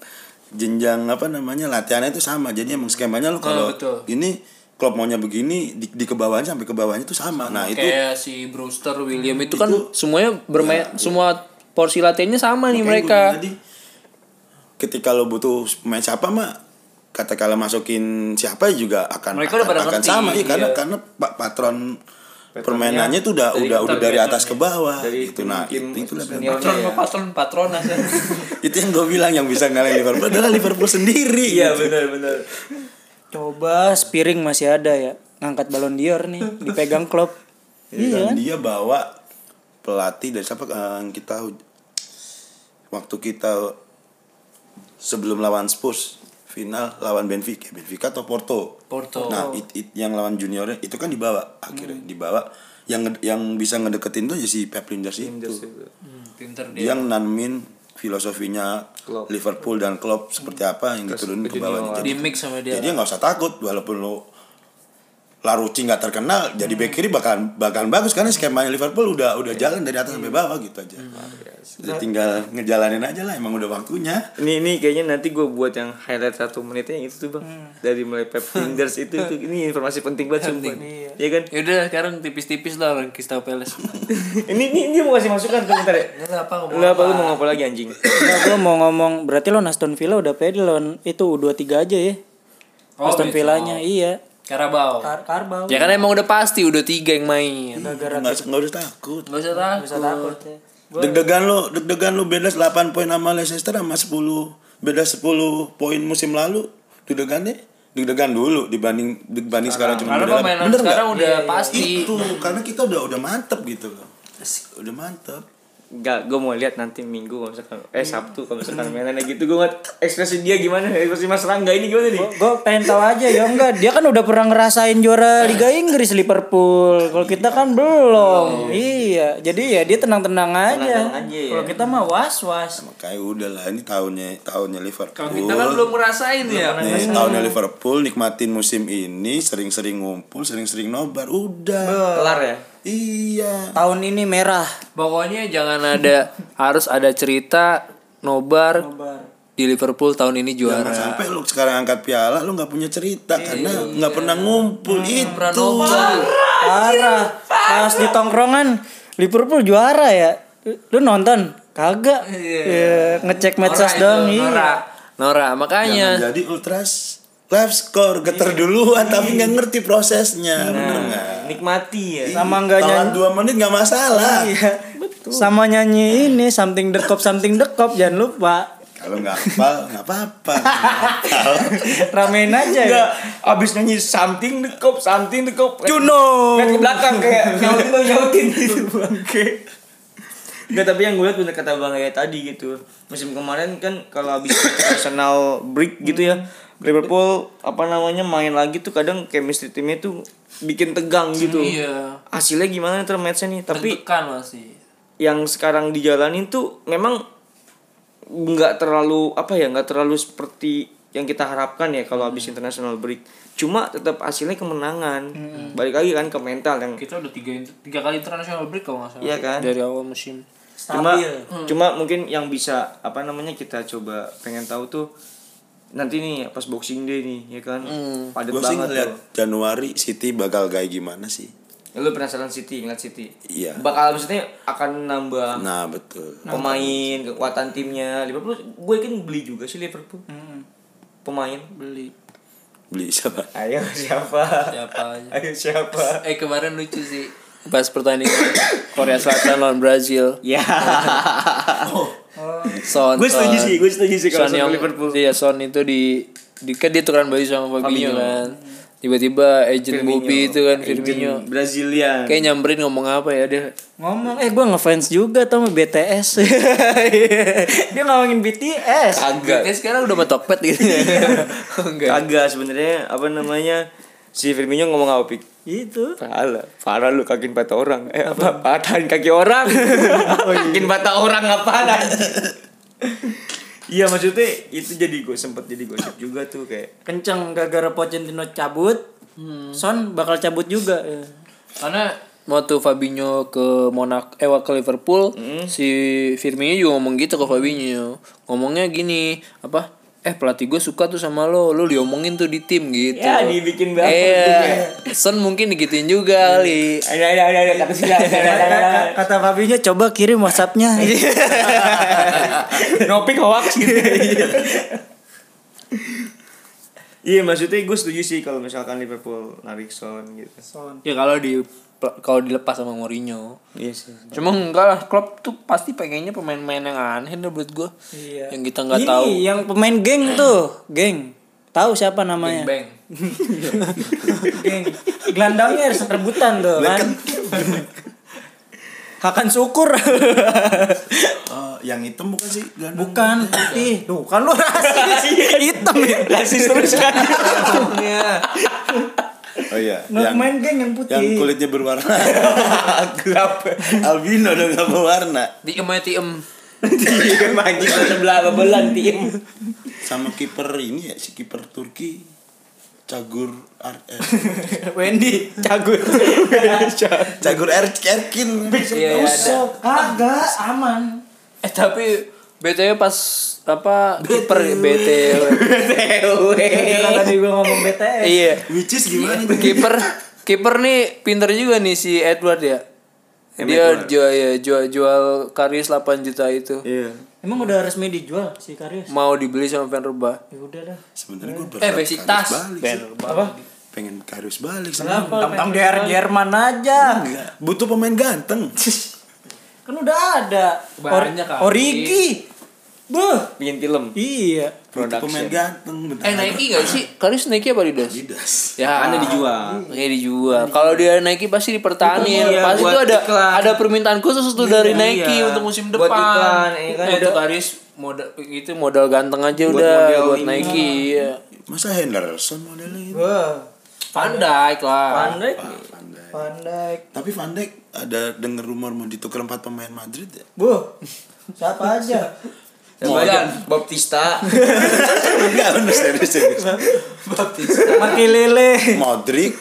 jenjang apa namanya latihannya itu sama. Jadi emang skemanya lo kalau
Oh, betul.
ini klub maunya begini di, di kebawahnya sampai ke bawahnya itu sama. Nah, itu
kayak si Brewster William itu, kan semuanya bermain semua porsi latihannya sama nih
Iya. Makanya
mereka.
gua bilang tadi, gitu. ketika lo butuh pemain siapa mah katakanlah masukin siapa juga akan
Mereka
akan,
udah pada
akan
ngerti,
sama iya, karena
iya.
karena pak patron permainannya tuh udah udah udah dari atas ke bawah gitu nah itu, itulah
Iya,
memang.
patron ke patron patron aja.
itu yang gue bilang yang bisa ngalahin Liverpool adalah Liverpool sendiri gitu.
benar benar.
Coba Spiring masih ada ya ngangkat balon dior nih dipegang klub.
Ya, dan dia bawa pelatih dari siapa eh, yang kita waktu kita sebelum lawan Spurs final lawan Benfica Benfica atau Porto
Porto.
nah it, it- yang lawan juniornya itu kan dibawa akhirnya dibawa yang nged- yang bisa ngedeketin tuh ya si Pep Linders itu Iya.
Pinter
dia yang nanemin filosofinya Liverpool dan Klopp seperti apa yang diturunin ke bawahnya jadi,
mix sama
jadi nggak usah takut walaupun lo Larucci nggak terkenal jadi
Hmm.
back kiri bakalan bakalan bagus karena skemanya Liverpool udah udah
Iya.
jalan dari atas sampai bawah gitu aja
Hmm.
Jadi tinggal ngejalanin aja lah emang udah waktunya
Ini ini kayaknya nanti gue buat yang highlight satu menitnya yang itu tuh bang
Hmm.
dari mulai Pep Fingers itu itu ini informasi penting banget sumpah. Iya kan?
Yaudah Ya sekarang tipis-tipis lah orang Crystal Palace.
Ini ini dia mau kasih masukan tuh bentar ya.
Enggak Iya, apa
Lah apa lu mau ngapa lagi anjing?
Nah, gue mau ngomong berarti lo Aston Villa udah pede lawan itu U23 aja ya.
Oh,
Aston
besok.
Villanya iya.
Karabau.
Kar Karbau.
Ya kan emang udah pasti udah tiga yang main.
Gara-gara
nggak usah- nggak usah takut
Gak Iya. usah takut.
bisa takut ya.
deg-degan lo deg-degan lo beda 8 poin sama Leicester sama 10 beda 10 poin musim lalu deg-degan deh deg-degan dulu dibanding dibanding sekarang, cuma
Karena
beda
pemainan
Bener nggak?
sekarang udah pasti.
itu karena kita udah udah mantep gitu loh udah mantep
Enggak, gue mau lihat nanti Minggu kalau misalkan eh Sabtu kalau misalkan mainannya gitu gue nggak ekspresi dia gimana ekspresi Mas Rangga ini gimana nih?
Gue pengen tahu aja ya enggak dia kan udah pernah ngerasain juara Liga Inggris Liverpool. Kalau kita kan belum. Iya. Jadi ya dia tenang-tenang aja.
aja ya.
Kalau kita mah was-was.
makanya udah lah ini tahunnya tahunnya Liverpool
Kita kan belum ngerasain ya.
Nih, tahunnya Liverpool nikmatin musim ini sering-sering ngumpul sering-sering nobar udah
Kelar ya.
iya
Tahun ini merah.
Pokoknya jangan ada harus ada cerita nobar, di Liverpool tahun ini
Jangan
juara.
sampai lu sekarang angkat piala lu nggak
Iya.
punya cerita karena nggak pernah ngumpul
Hmm,
itu
Parah. Pas di tongkrongan Liverpool juara ya. Lu nonton? Kagak. Iya, ngecek medsos
Nora,
doang iya.
Nora makanya
Jangan jadi ultras live score geter
Iya.
duluan tapi nggak ngerti prosesnya bener nggak
Nikmati ya.
Sama nggak
Tahan
nyanyi.
dua menit nggak masalah
Iya. Sama nyanyi ini something the cop something the cop jangan lupa.
kalau nggak hafal nggak apa-apa
Ramein aja ya.
Enggak, abis nyanyi something the cop, something the cop.
You know.
Lihat ke belakang kayak nyautin dong, nyautin gitu. Oh. Oke. Enggak, tapi yang gue lihat bener kata Bang Yaya tadi gitu. Musim kemarin kan kalau habis Arsenal break gitu ya, Liverpool apa namanya main lagi tuh kadang chemistry timnya tuh bikin tegang gitu.
iya
Hasilnya gimana ntar matchnya nih? Tapi
tekan masih
yang sekarang dijalanin tuh memang nggak terlalu apa ya nggak terlalu seperti yang kita harapkan ya kalau habis international break cuma tetap hasilnya kemenangan balik lagi kan ke mental yang
kita udah tiga tiga kali international break kalau nggak salah
Iya kan?
dari awal musim
cuma
Hmm.
cuma mungkin yang bisa apa namanya kita coba pengen tahu tuh nanti nih pas boxing day nih ya kan
Hmm.
padat
gue sih
banget
ngeliat
tuh.
Januari City bakal kayak gimana sih
Ya, lu penasaran City ngeliat City
Iya.
bakal maksudnya akan nambah
nah betul
pemain kekuatan timnya Liverpool gue kan beli juga sih Liverpool pemain
Hmm. beli
beli siapa
Ayo siapa?
siapa aja
Ayo siapa?
eh kemarin lucu sih pas pertandingan Korea Selatan lawan Brazil
Ya.
Son
Gue setuju sih, gue setuju sih kalau
Son yang
sama Liverpool.
iya Son itu di di kan dia tukeran baju sama Fabinho, kan tiba-tiba agent Bobby itu kan Firmino
Brazilian.
kayak nyamperin ngomong apa ya dia
Ngomong eh gue ngefans juga tau sama BTS. Iya. Dia ngomongin BTS.
Kagak.
Dia sekarang udah metokpet gitu enggak
Kagak sebenarnya apa namanya? Si Firmino ngomong apa pik?
Itu.
Parah, parah lu kakin patah orang. Eh Gitu. apa? Oh, iya. Patahin kaki orang. kakin patah orang apaan? anjing? Iya maksudnya itu jadi gue sempet jadi gosip juga tuh kayak
Kenceng gara-gara Pochettino cabut. Son bakal cabut juga. ya.
karena waktu Fabinho ke Monak eh ke Liverpool si Firmino juga ngomong gitu ke Fabinho ngomongnya gini apa eh pelatih gue suka tuh sama lo lo diomongin tuh di tim gitu
Ya, dibikin baper
iya Son mmungkin digituin juga kali
ada ada ada ada kata sila
Kata- Kata Fabinho coba kirim WhatsAppnya.
Nopik hoax gitu. Iya maksudnya gue setuju sih kalau misalkan Liverpool narik Son gitu.
ya kalau di kalau dilepas sama Mourinho
Iya sih.
cuma enggak lah Klopp tuh pasti pengennya pemain-pemain yang aneh deh menurut gue
Iya.
yang kita nggak
Ini
tahu
yang pemain geng tuh, geng. Tahu siapa namanya?
Bang
Geng. Gelandangnya harus rebutan tuh kan. Hakan syukur.
oh yang hitam bukan sih Gelandang.
Bukan putih. Tuh kan lu rasis. Hitam ya. Rasis terus kan.
oh iya
Nggak main geng yang putih.
yang kulitnya berwarna gelap albino dong nggak berwarna
diem aja diem
kan manggil sebelah kebelan tim.
sama kiper ini ya si kiper Turki Cagur Ar eh,
Wendy cagut.
Cagur Er- Erkin
Iya, iya, ada.
Kagak aman.
Eh tapi BTW pas apa kiper BTW.
Karena tadi gua ngomong BTS.
iya.
which is gimana
Kiper kiper nih pinter juga nih si Edward ya. Dia jual ya, jual jual Karius 8 juta itu.
Iya.
Emang udah resmi dijual si Karius?
Mau dibeli sama Venerba.
Ya udah dah.
sebenarnya gue
Eh
berharap
Besiktas.
Karius balik sih.
Apa?
pengen Karius balik sebenarnya
Kenapa? Tam Jerman aja.
Enggak, butuh pemain ganteng
Kan udah ada.
Banyak kali.
Origi. Beuh.
Bikin film.
Iya.
butuh pemain ganteng bentar
Eh Nike gak sih? Karius Nike apa Adidas?
Adidas
Ya,
Karena dijual.
Iya dijual. Kalau dia Nike pasti dipertahanin.
Iya,
pasti
buat
tuh ada
iklan.
ada permintaan khusus tuh dari Nike
iya.
untuk musim
Buat
depan.
iklan, iya kan?
Eh, itu Karis modal itu modal ganteng aja udah
model
buat
ini.
Nike. Iya.
masa Henderson modelnya gitu
Beuh.
Pandai lah.
Pandai.
Van Dijk.
Van Dijk.
tapi Van Dijk ada denger rumor mau ditukar empat pemain Madrid ya
Beuh. Siapa aja?
Siapa aja? Baptista.
enggak bener kan serius serius
Mati lele.
Modric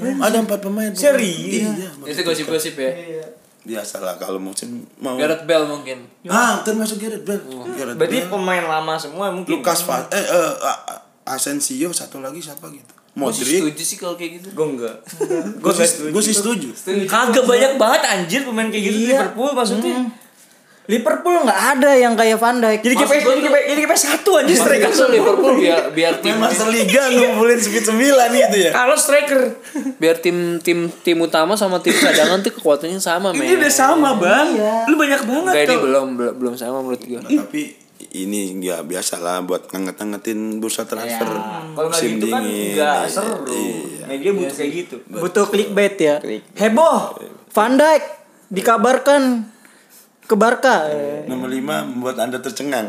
ada empat pemain
Serius?
iya
Itu gosip-gosip
Iya.
ya.
biasa lah kalau musim mau
Gareth Bell mungkin.
ah termasuk Gareth Bale Gareth
Oh. Berarti
Bale.
pemain lama semua mungkin.
Lucas Fa eh, eh, A- A- Asensio satu lagi siapa gitu Modric
Setuju sih kalau kayak gitu.
Gue enggak. Gue
gue
enggak
sih
setuju.
gue sih setuju
Iya.
Kagak banyak banget anjir pemain kayak gitu di Liverpool maksudnya.
Liverpool nggak ada yang kayak Van Dijk.
Jadi
Mas-
KPS jadi KPS jadi KPS satu aja striker.
Mereka tuh Liverpool biar biar tim
Master Liga ngumpulin speed 9 gitu ya.
Kalau striker
biar tim tim tim utama sama tim cadangan tuh kekuatannya sama men.
ini udah sama
Iya.
bang. Lu banyak banget
Enggak ini
tuh.
belum belum belum sama menurut gue.
Tapi ini nggak biasa lah buat nganget-ngangetin bursa transfer Iya.
Kalau nggak gitu kan
Iya.
nggak seru. Media butuh kayak gitu.
Butuh clickbait ya. Heboh. Van Dijk dikabarkan ke Barca.
Nomor 5 membuat Anda tercengang.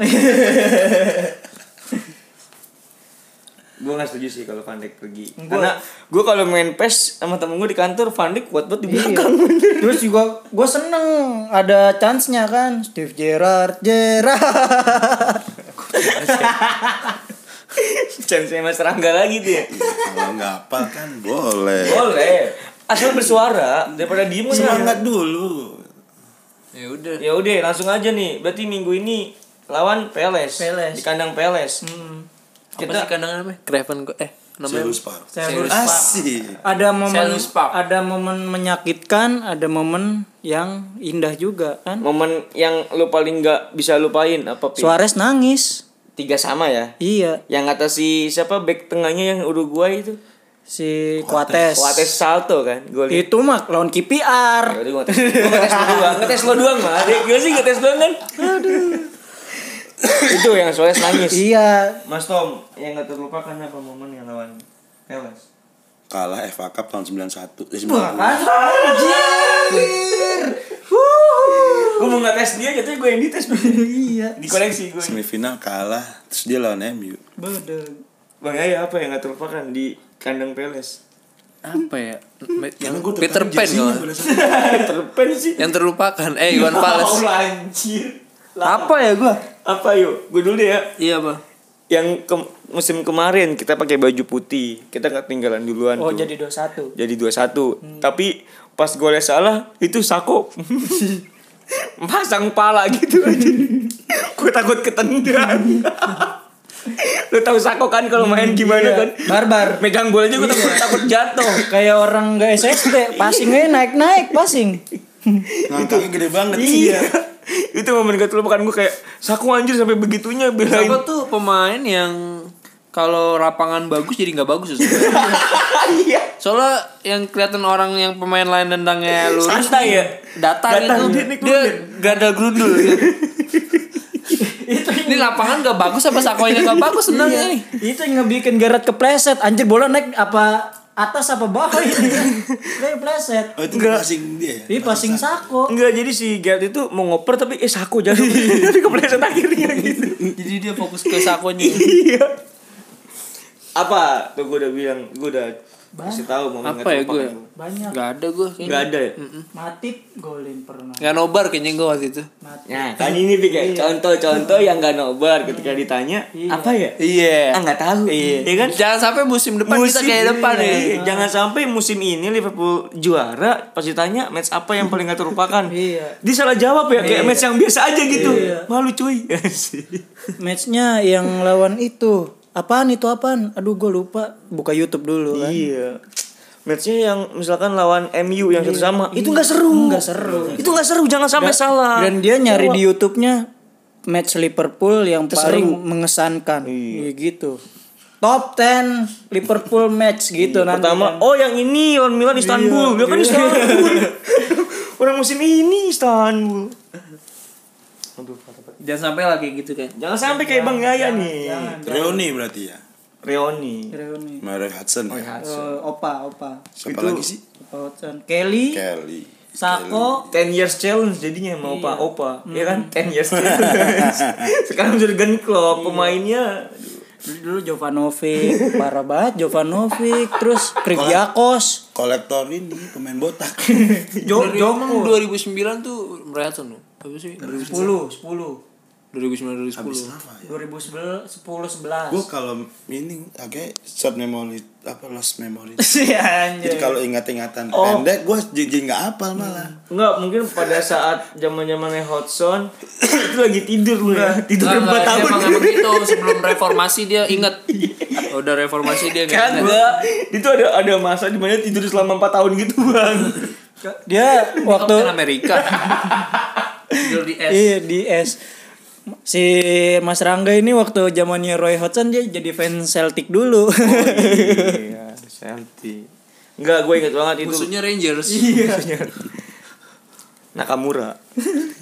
Gue gak setuju sih kalau Van Dijk pergi. Karena gue kalau main PES sama temen gue di kantor Van Dijk kuat
Iya.
banget di belakang.
Terus juga gue seneng ada chance-nya kan. Steve Gerrard, Gerrard.
Chance Mas Rangga lagi tuh ya.
Kalau nggak apa kan boleh.
Boleh. Asal bersuara daripada diem kan.
Semangat dulu.
Ya udah.
Ya udah langsung aja nih. Berarti minggu ini lawan Peles, di
Peles.
kandang Peles.
Hmm. Apa sih kandangan namanya? Craven kok eh namanya
Serius Pak.
Serius, Pak.
Asik.
Ada momen
Selus Park.
ada momen menyakitkan, ada momen yang indah juga kan.
Momen yang lu paling nggak bisa lupain apa Pin?
Suarez nangis.
Tiga sama ya.
Iya,
Yang kata si siapa back tengahnya yang Uruguay itu?
si Kuates.
Coates Salto kan golin.
Itu mah lawan
Ya
KPR.
udah gua ngetes gua ngetes lo doang, ngetes lo doang mah. Dia gua sih ngetes doang kan. itu yang Suarez nangis.
Iya,
Mas Tom, yang gak terlupakan apa momen yang lawan Peles?
Kalah FA Cup tahun 91. Eh, 90.
Anjir.
Gue mau ngetes dia, jatuhnya gue yang dites.
iya.
Di koleksi gue.
Semifinal kalah, terus dia lawan MU.
Bodoh.
Bang Ayah apa yang gak terlupakan di kandang Peles?
apa ya? Yang Peter Pan kalau.
Terpen sih.
Yang terlupakan eh Iwan Fals.
Allah, anjir.
Apa ya gua?
Apa yuk? Gue dulu deh ya.
Iya, Bang.
Yang ke- musim kemarin kita pakai baju putih. Kita ketinggalan duluan
Oh,
tuh.
jadi 21.
jadi 21. Tapi pas golnya salah itu Sako pasang pala gitu aja. gue takut ketendang. Lu tahu Sako kan kalau main gimana kan?
Barbar.
Megang bola aja gue takut takut jatuh.
Kayak orang gak SSD, passingnya naik-naik, passing.
Ngangkatnya gede banget.
Iya. itu momen gak terlupakan gue kan, kayak Sako anjir sampai begitunya
Siapa
belain.
tuh pemain yang kalau lapangan bagus jadi nggak bagus ya, sebenarnya. Iya. Soalnya yang kelihatan orang yang pemain lain nendangnya lurus
Santai ya?
Datar
Datar,
itu
dia
dia,
nih keluarin.
gadal gerundul gitu. Ini lapangan gak bagus apa sakonya gak bagus sebenarnya nih.
Iya. Itu yang ngebikin Gerard kepleset. Anjir bola naik apa atas apa bawah ini. Dia kepleset.
Oh, itu passing dia.
Ini passing sako.
Enggak jadi si Gerd itu mau ngoper tapi eh Sako jatuh. Jadi kepleset akhirnya gitu.
Jadi dia fokus ke sakonya.
iya apa tuh gue udah bilang gue udah kasih tahu mau
Apa ya gue?
Banyak.
Gak ada gue.
nggak ada ya
Matip golin pernah.
Gak nobar kayaknya gue waktu itu.
Matip.
nah kan ini Pik,
Iya.
ya contoh-contoh yang gak nobar ketika ditanya apa ya
Iya.
ah nggak tahu iya kan
Jangan sampai musim depan kita kayak depan ya.
iya.
nih.
jangan sampai musim ini Liverpool juara pas ditanya match apa yang paling gak terlupakan
Iya.
dia salah jawab ya kayak match yang biasa aja gitu malu cuy
Matchnya yang lawan itu. Apaan itu apaan? Aduh gue lupa. Buka YouTube dulu kan.
iya matchnya yang misalkan lawan MU yang satu sama itu nggak seru
Nggak seru.
itu nggak seru jangan sampai salah
Iya. Dan dia nyari di YouTube-nya match Liverpool yang paling mengesankan. Iya gitu. Top 10 Liverpool match gitu Iya. nanti.
pertama oh yang ini lawan Milan Istanbul dia kan Istanbul orang musim ini Istanbul
Jangan sampai lagi gitu kan.
jangan sampai kayak Bang Yaya nih
Reuni berarti ya.
Reoni
Reuni.
Mary Hudson.
Eh, opa, Opa.
Siapa lagi sih?
Opa Watson. Kelly,
Kelly.
Sako,
Ten years challenge jadinya
Iya.
mau opa opa
Hmm.
ya kan ten years challenge sekarang Jurgen
Iya.
Klopp pemainnya
dulu, dulu Jovanovic, parah banget Jovanovic, terus Kriviakos.
Kolektor ini pemain botak.
Jo
Emang
Joko
2009 tuh merayakan tuh. Apa sih?
10, 10.
2009 2010.
2010, 10,
Gue ya. kalau ini agak short memory apa lost memory.
11. Iya, anjay.
Jadi kalau ingat-ingatan pendek gue jadi nggak hafal malah.
Enggak, mungkin pada saat zaman zamannya Hudson itu lagi tidur lu ya. Tidur
Enggak, enggak,
4 tahun.
emang, emang gitu sebelum reformasi dia inget udah reformasi dia nggak ingat.
Kagak. Itu ada ada masa dimana tidur selama 4 tahun gitu, Bang.
Dia
waktu
waktu
Amerika
Jordi S.
Iya di S. Si Mas Rangga ini waktu zamannya Roy Hodgson dia jadi fans Celtic dulu.
iya, Santi.
Enggak, gue inget banget itu. Iya.
Musuhnya Rangers.
Nakamura.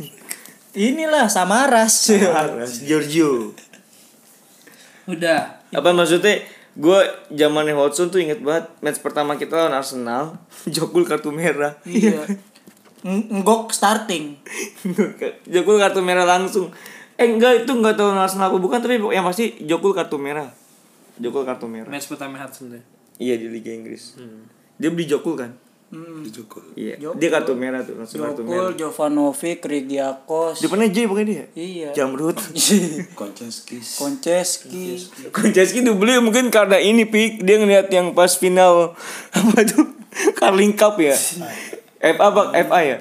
Inilah Samaras.
Giorgio.
Udah.
Apa maksudnya? Gue zamannya Hotsun tuh inget banget match pertama kita lawan Arsenal, Jokul kartu merah.
Iya. Ng- Ngok starting.
Jokul kartu merah langsung. Eh enggak itu enggak tahu Arsenal apa bukan tapi yang pasti Jokul kartu merah. Jokul kartu merah.
Match pertama Hudson deh.
Iya di Liga Inggris.
Hmm.
Dia beli Jokul kan?
Dijukul.
Iya. Dia kartu merah tuh langsung kartu merah.
Jokul, Jovanovic, Krigiakos.
Depannya J bukan dia?
Iya.
Jamrut.
Koncaskis.
Konceski.
Konceski tuh beli mungkin karena ini pik dia ngeliat yang pas final apa tuh Carling Cup ya. FA apa FA ya?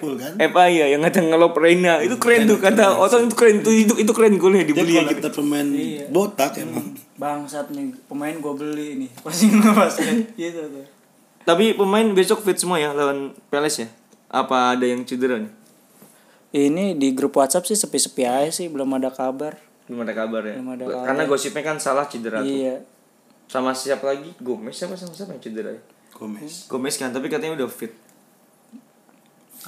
FA ya yang ada ngelop Iya, Reina. Itu keren tuh kata Oton itu keren tuh itu itu keren golnya
Dia
dibeli
kalau
gitu.
dapet pemain botak emang.
Bangsat nih, pemain gue beli nih. Pasti ngebasket gitu tuh.
Tapi pemain besok fit semua ya lawan Palace ya. Apa ada yang cedera nih?
Ini di grup WhatsApp sih sepi-sepi aja sih, belum ada kabar.
Belum ada kabar ya.
Belum ada
Karena gosipnya kan salah cedera tuh.
Iya.
Sama siapa lagi? Gomez siapa sama siapa yang cedera ya?
Gomez.
Gomez kan tapi katanya udah fit.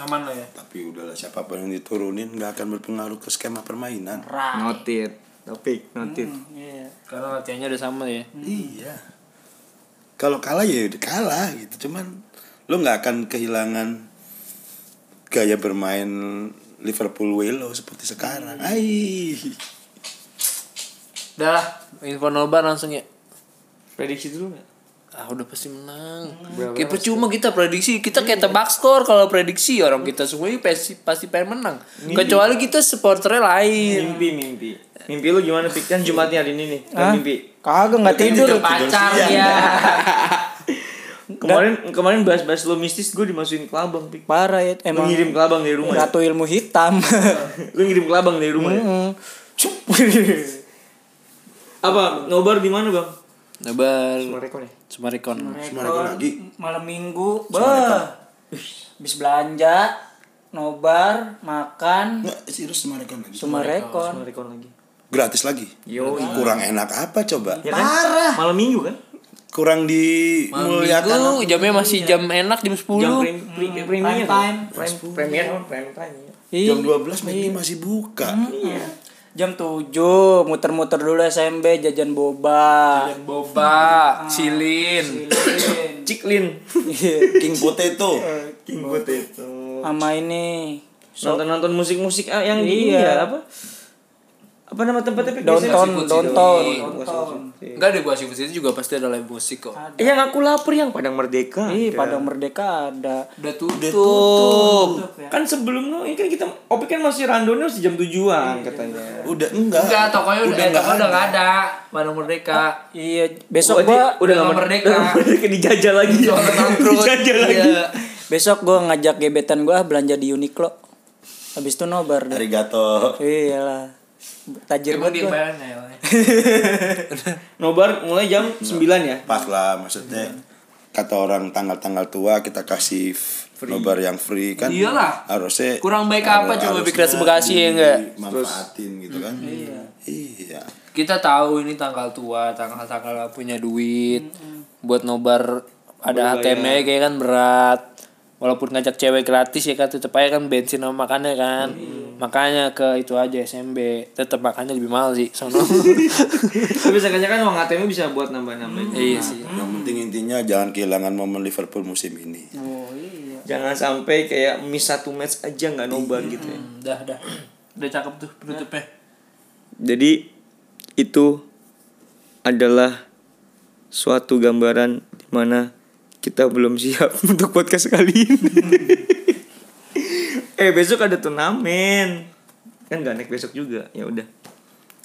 Aman lah ya.
Tapi udahlah siapapun yang diturunin nggak akan berpengaruh ke skema permainan.
Notit. Tapi notit.
Iya.
Karena latihannya udah sama ya.
Iya. Kalau kalah ya udah kalah gitu. Cuman lo nggak akan kehilangan gaya bermain Liverpool Welo seperti sekarang. Ai.
Udah lah. Info Nobar langsung ya.
Prediksi dulu nggak?
Ah udah pasti menang. Kayak percuma kita prediksi, kita kayak tebak skor kalau prediksi orang kita semua ini pasti pasti pengen menang. Kecuali kita supporternya lain.
mimpi mimpi mimpi lu gimana pik kan jumatnya hari ini nih kan mimpi
Kagak nggak tidur.
Pacar
Iya.
ya.
kemarin kemarin bahas-bahas lo mistis gue dimasukin kelabang pik
Parah ya,
lu
emang
ngirim kelabang dari rumah ya?
Ratu ilmu hitam.
lu ngirim kelabang dari rumah ya?
Hmm. Cup.
apa nobar di mana bang
Nobar.
Mareko nih
Sumarikon.
Semarang lagi.
Malam minggu, bah. Bis belanja, nobar, makan,
Nggak, serius Semarang lagi.
sumarekon.
Mareko lagi
Gratis lagi.
yo
Kurang enak apa coba?
ya kan? malam minggu kan
Kurang dimuliakan.
Minggu jamnya masih jam enak jam 10.
jam prim- prim- premier
time.
Hmm, Prime- premier prime time ya.
Ih,
Jam
Iya.
12 McD masih buka.
Hmm.
Jam 7 muter-muter dulu SMB jajan
Iya.
boba.
Ah, Boba, Cilin.
ciklin
King Potato.
Iya.
king potato
Sama ini
nonton nonton musik musik yang di ini
Iya.
ya apa apa nama tempatnya pik
downtown,
Nasi kucing.
downtown.
Enggak deh gua sih itu juga pasti ada live musik kok.
yang aku Iya, lapar yang Iya, padang merdeka
Ih, Padang Merdeka ada.
Udah tutup.
kan sebelum lu ini kan kita Opik kan masih randonnya masih jam tujuan katanya.
Udah enggak.
Enggak, tokonya udah eh,
enggak
tokonya udah enggak ada. Bandung Merdeka.
Iya,
Besok
besok
udah
gua
udah
nggak
nggak
merdeka.
merdeka.
merdeka dijajah lagi.
Soalnya bangkrut.
dijajah lagi.
Iya.
besok gua ngajak gebetan gua belanja di Uniqlo. Habis itu nobar deh.
Arigato.
Iyalah. Tajir
Coba di
banget. gua.
bayaran ya.
Nobar mulai jam 9 ya.
Pas lah
Iya.
maksudnya. Kata orang tanggal-tanggal tua kita kasih nobar yang free kan.
Iyalah.
Harusnya
Kurang baik apa
harus-
coba
harusnya
Big Reds Bekasi, ya enggak?
Manfaatin gitu kan. Iya. Iya.
Kita tahu ini tanggal tua, tanggal-tanggal nggak punya duit. Buat nobar ada ATM-nya kayak kan berat. Walaupun ngajak cewek gratis ya kan tetep aja kan bensin sama makannya kan. Makanya ke itu aja SMB. Tetep makannya lebih mahal sih sono.
Tapi seenggaknya kan uang ATM bisa buat nambah-nambah.
iya sih.
Yang penting intinya jangan kehilangan momen Liverpool musim ini.
Jangan sampai kayak miss satu match aja nggak nobar gitu ya.
Udah, udah. Udah cakep tuh penutupnya.
Jadi itu adalah suatu gambaran di mana kita belum siap untuk podcast kali ini. eh besok ada turnamen. Kan gak naik besok juga. Ya udah.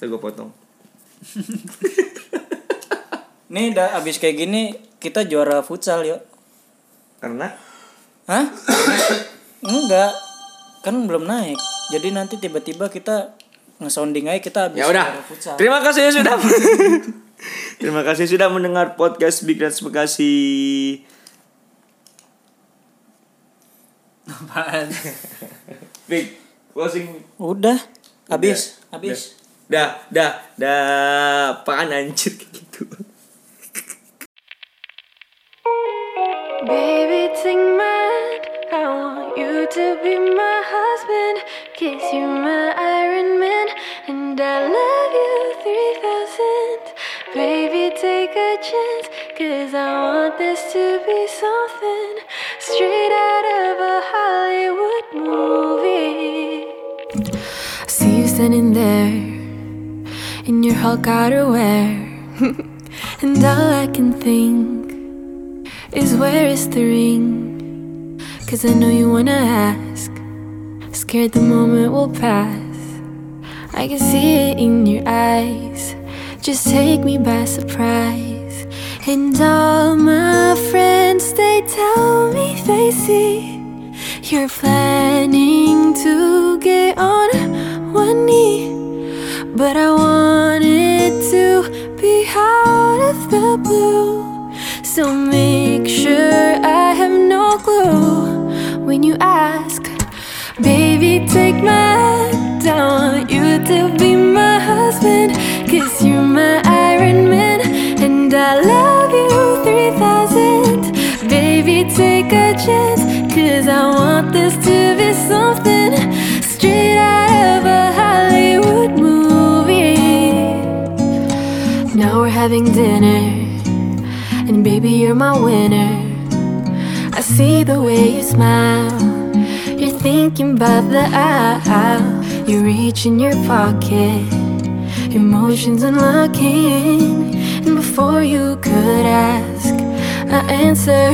Ntar gue potong.
Nih udah habis kayak gini kita juara futsal yuk.
Karena
Hah? Enggak. Kan belum naik. Jadi nanti tiba-tiba kita ngesounding aja kita habis
ya udah.
juara futsal.
Terima kasih sudah. Terima kasih sudah mendengar podcast Big Reds Bekasi.
Apaan?
Big
Closing.
Udah, habis, habis.
Dah, dah, dah. Apaan anjir kayak gitu.
Baby, take my hand. I want you to be my husband. Kiss you, my Iron Man. And I love you 3000. Baby, take a chance. Cause I want this to be something straight out of a Hollywood movie. I see you standing there in your Hulk outerwear. and all I can think is where is the ring? Cause I know you wanna ask. Scared the moment will pass. I can see it in your eyes. Just take me by surprise. And all my friends, they tell me they see you're planning to get on one knee. But I wanted to be out of the blue. So make sure I have no clue when you ask. Baby, take my hand. I want you to be my husband. Cause you're my Iron Man. And I love you 3000. Baby, take a chance. Cause I want this to be something straight out of a Hollywood movie. Now we're having dinner. And baby, you're my winner. I see the way you smile. You're thinking about the aisle. You reach in your pocket. Emotions unlocking. And before you could ask, I answer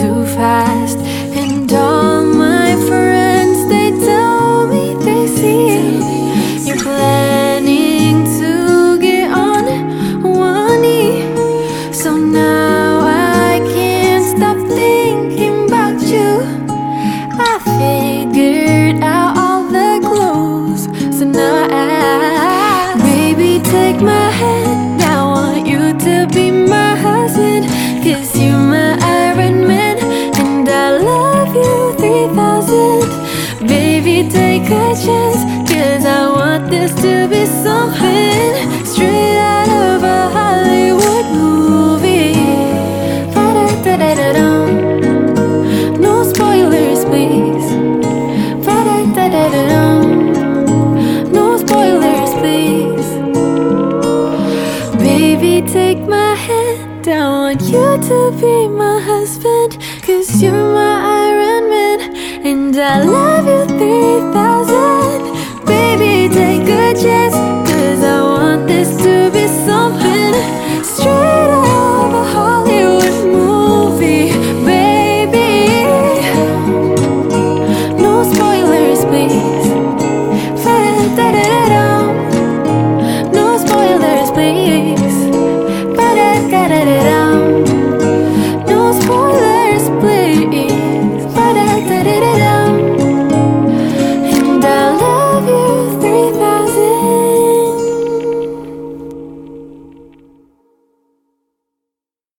too fast. And all my friends, they tell me they see you're planning to get on one knee. So now I can't stop thinking about you. I figured out all the clues. So now I, baby, take my hand. I want you to be my husband. Cause you're my Iron Man. And I love you 3000. Baby, take a chance. Cause I want this to be something straight out of a Hollywood movie. Da-da-da-da-dum. No spoilers, please. Da-da-da-da-dum. No spoilers, please. Baby, take my hand. I want you to be my husband. Cause you're my Iron Man. And I love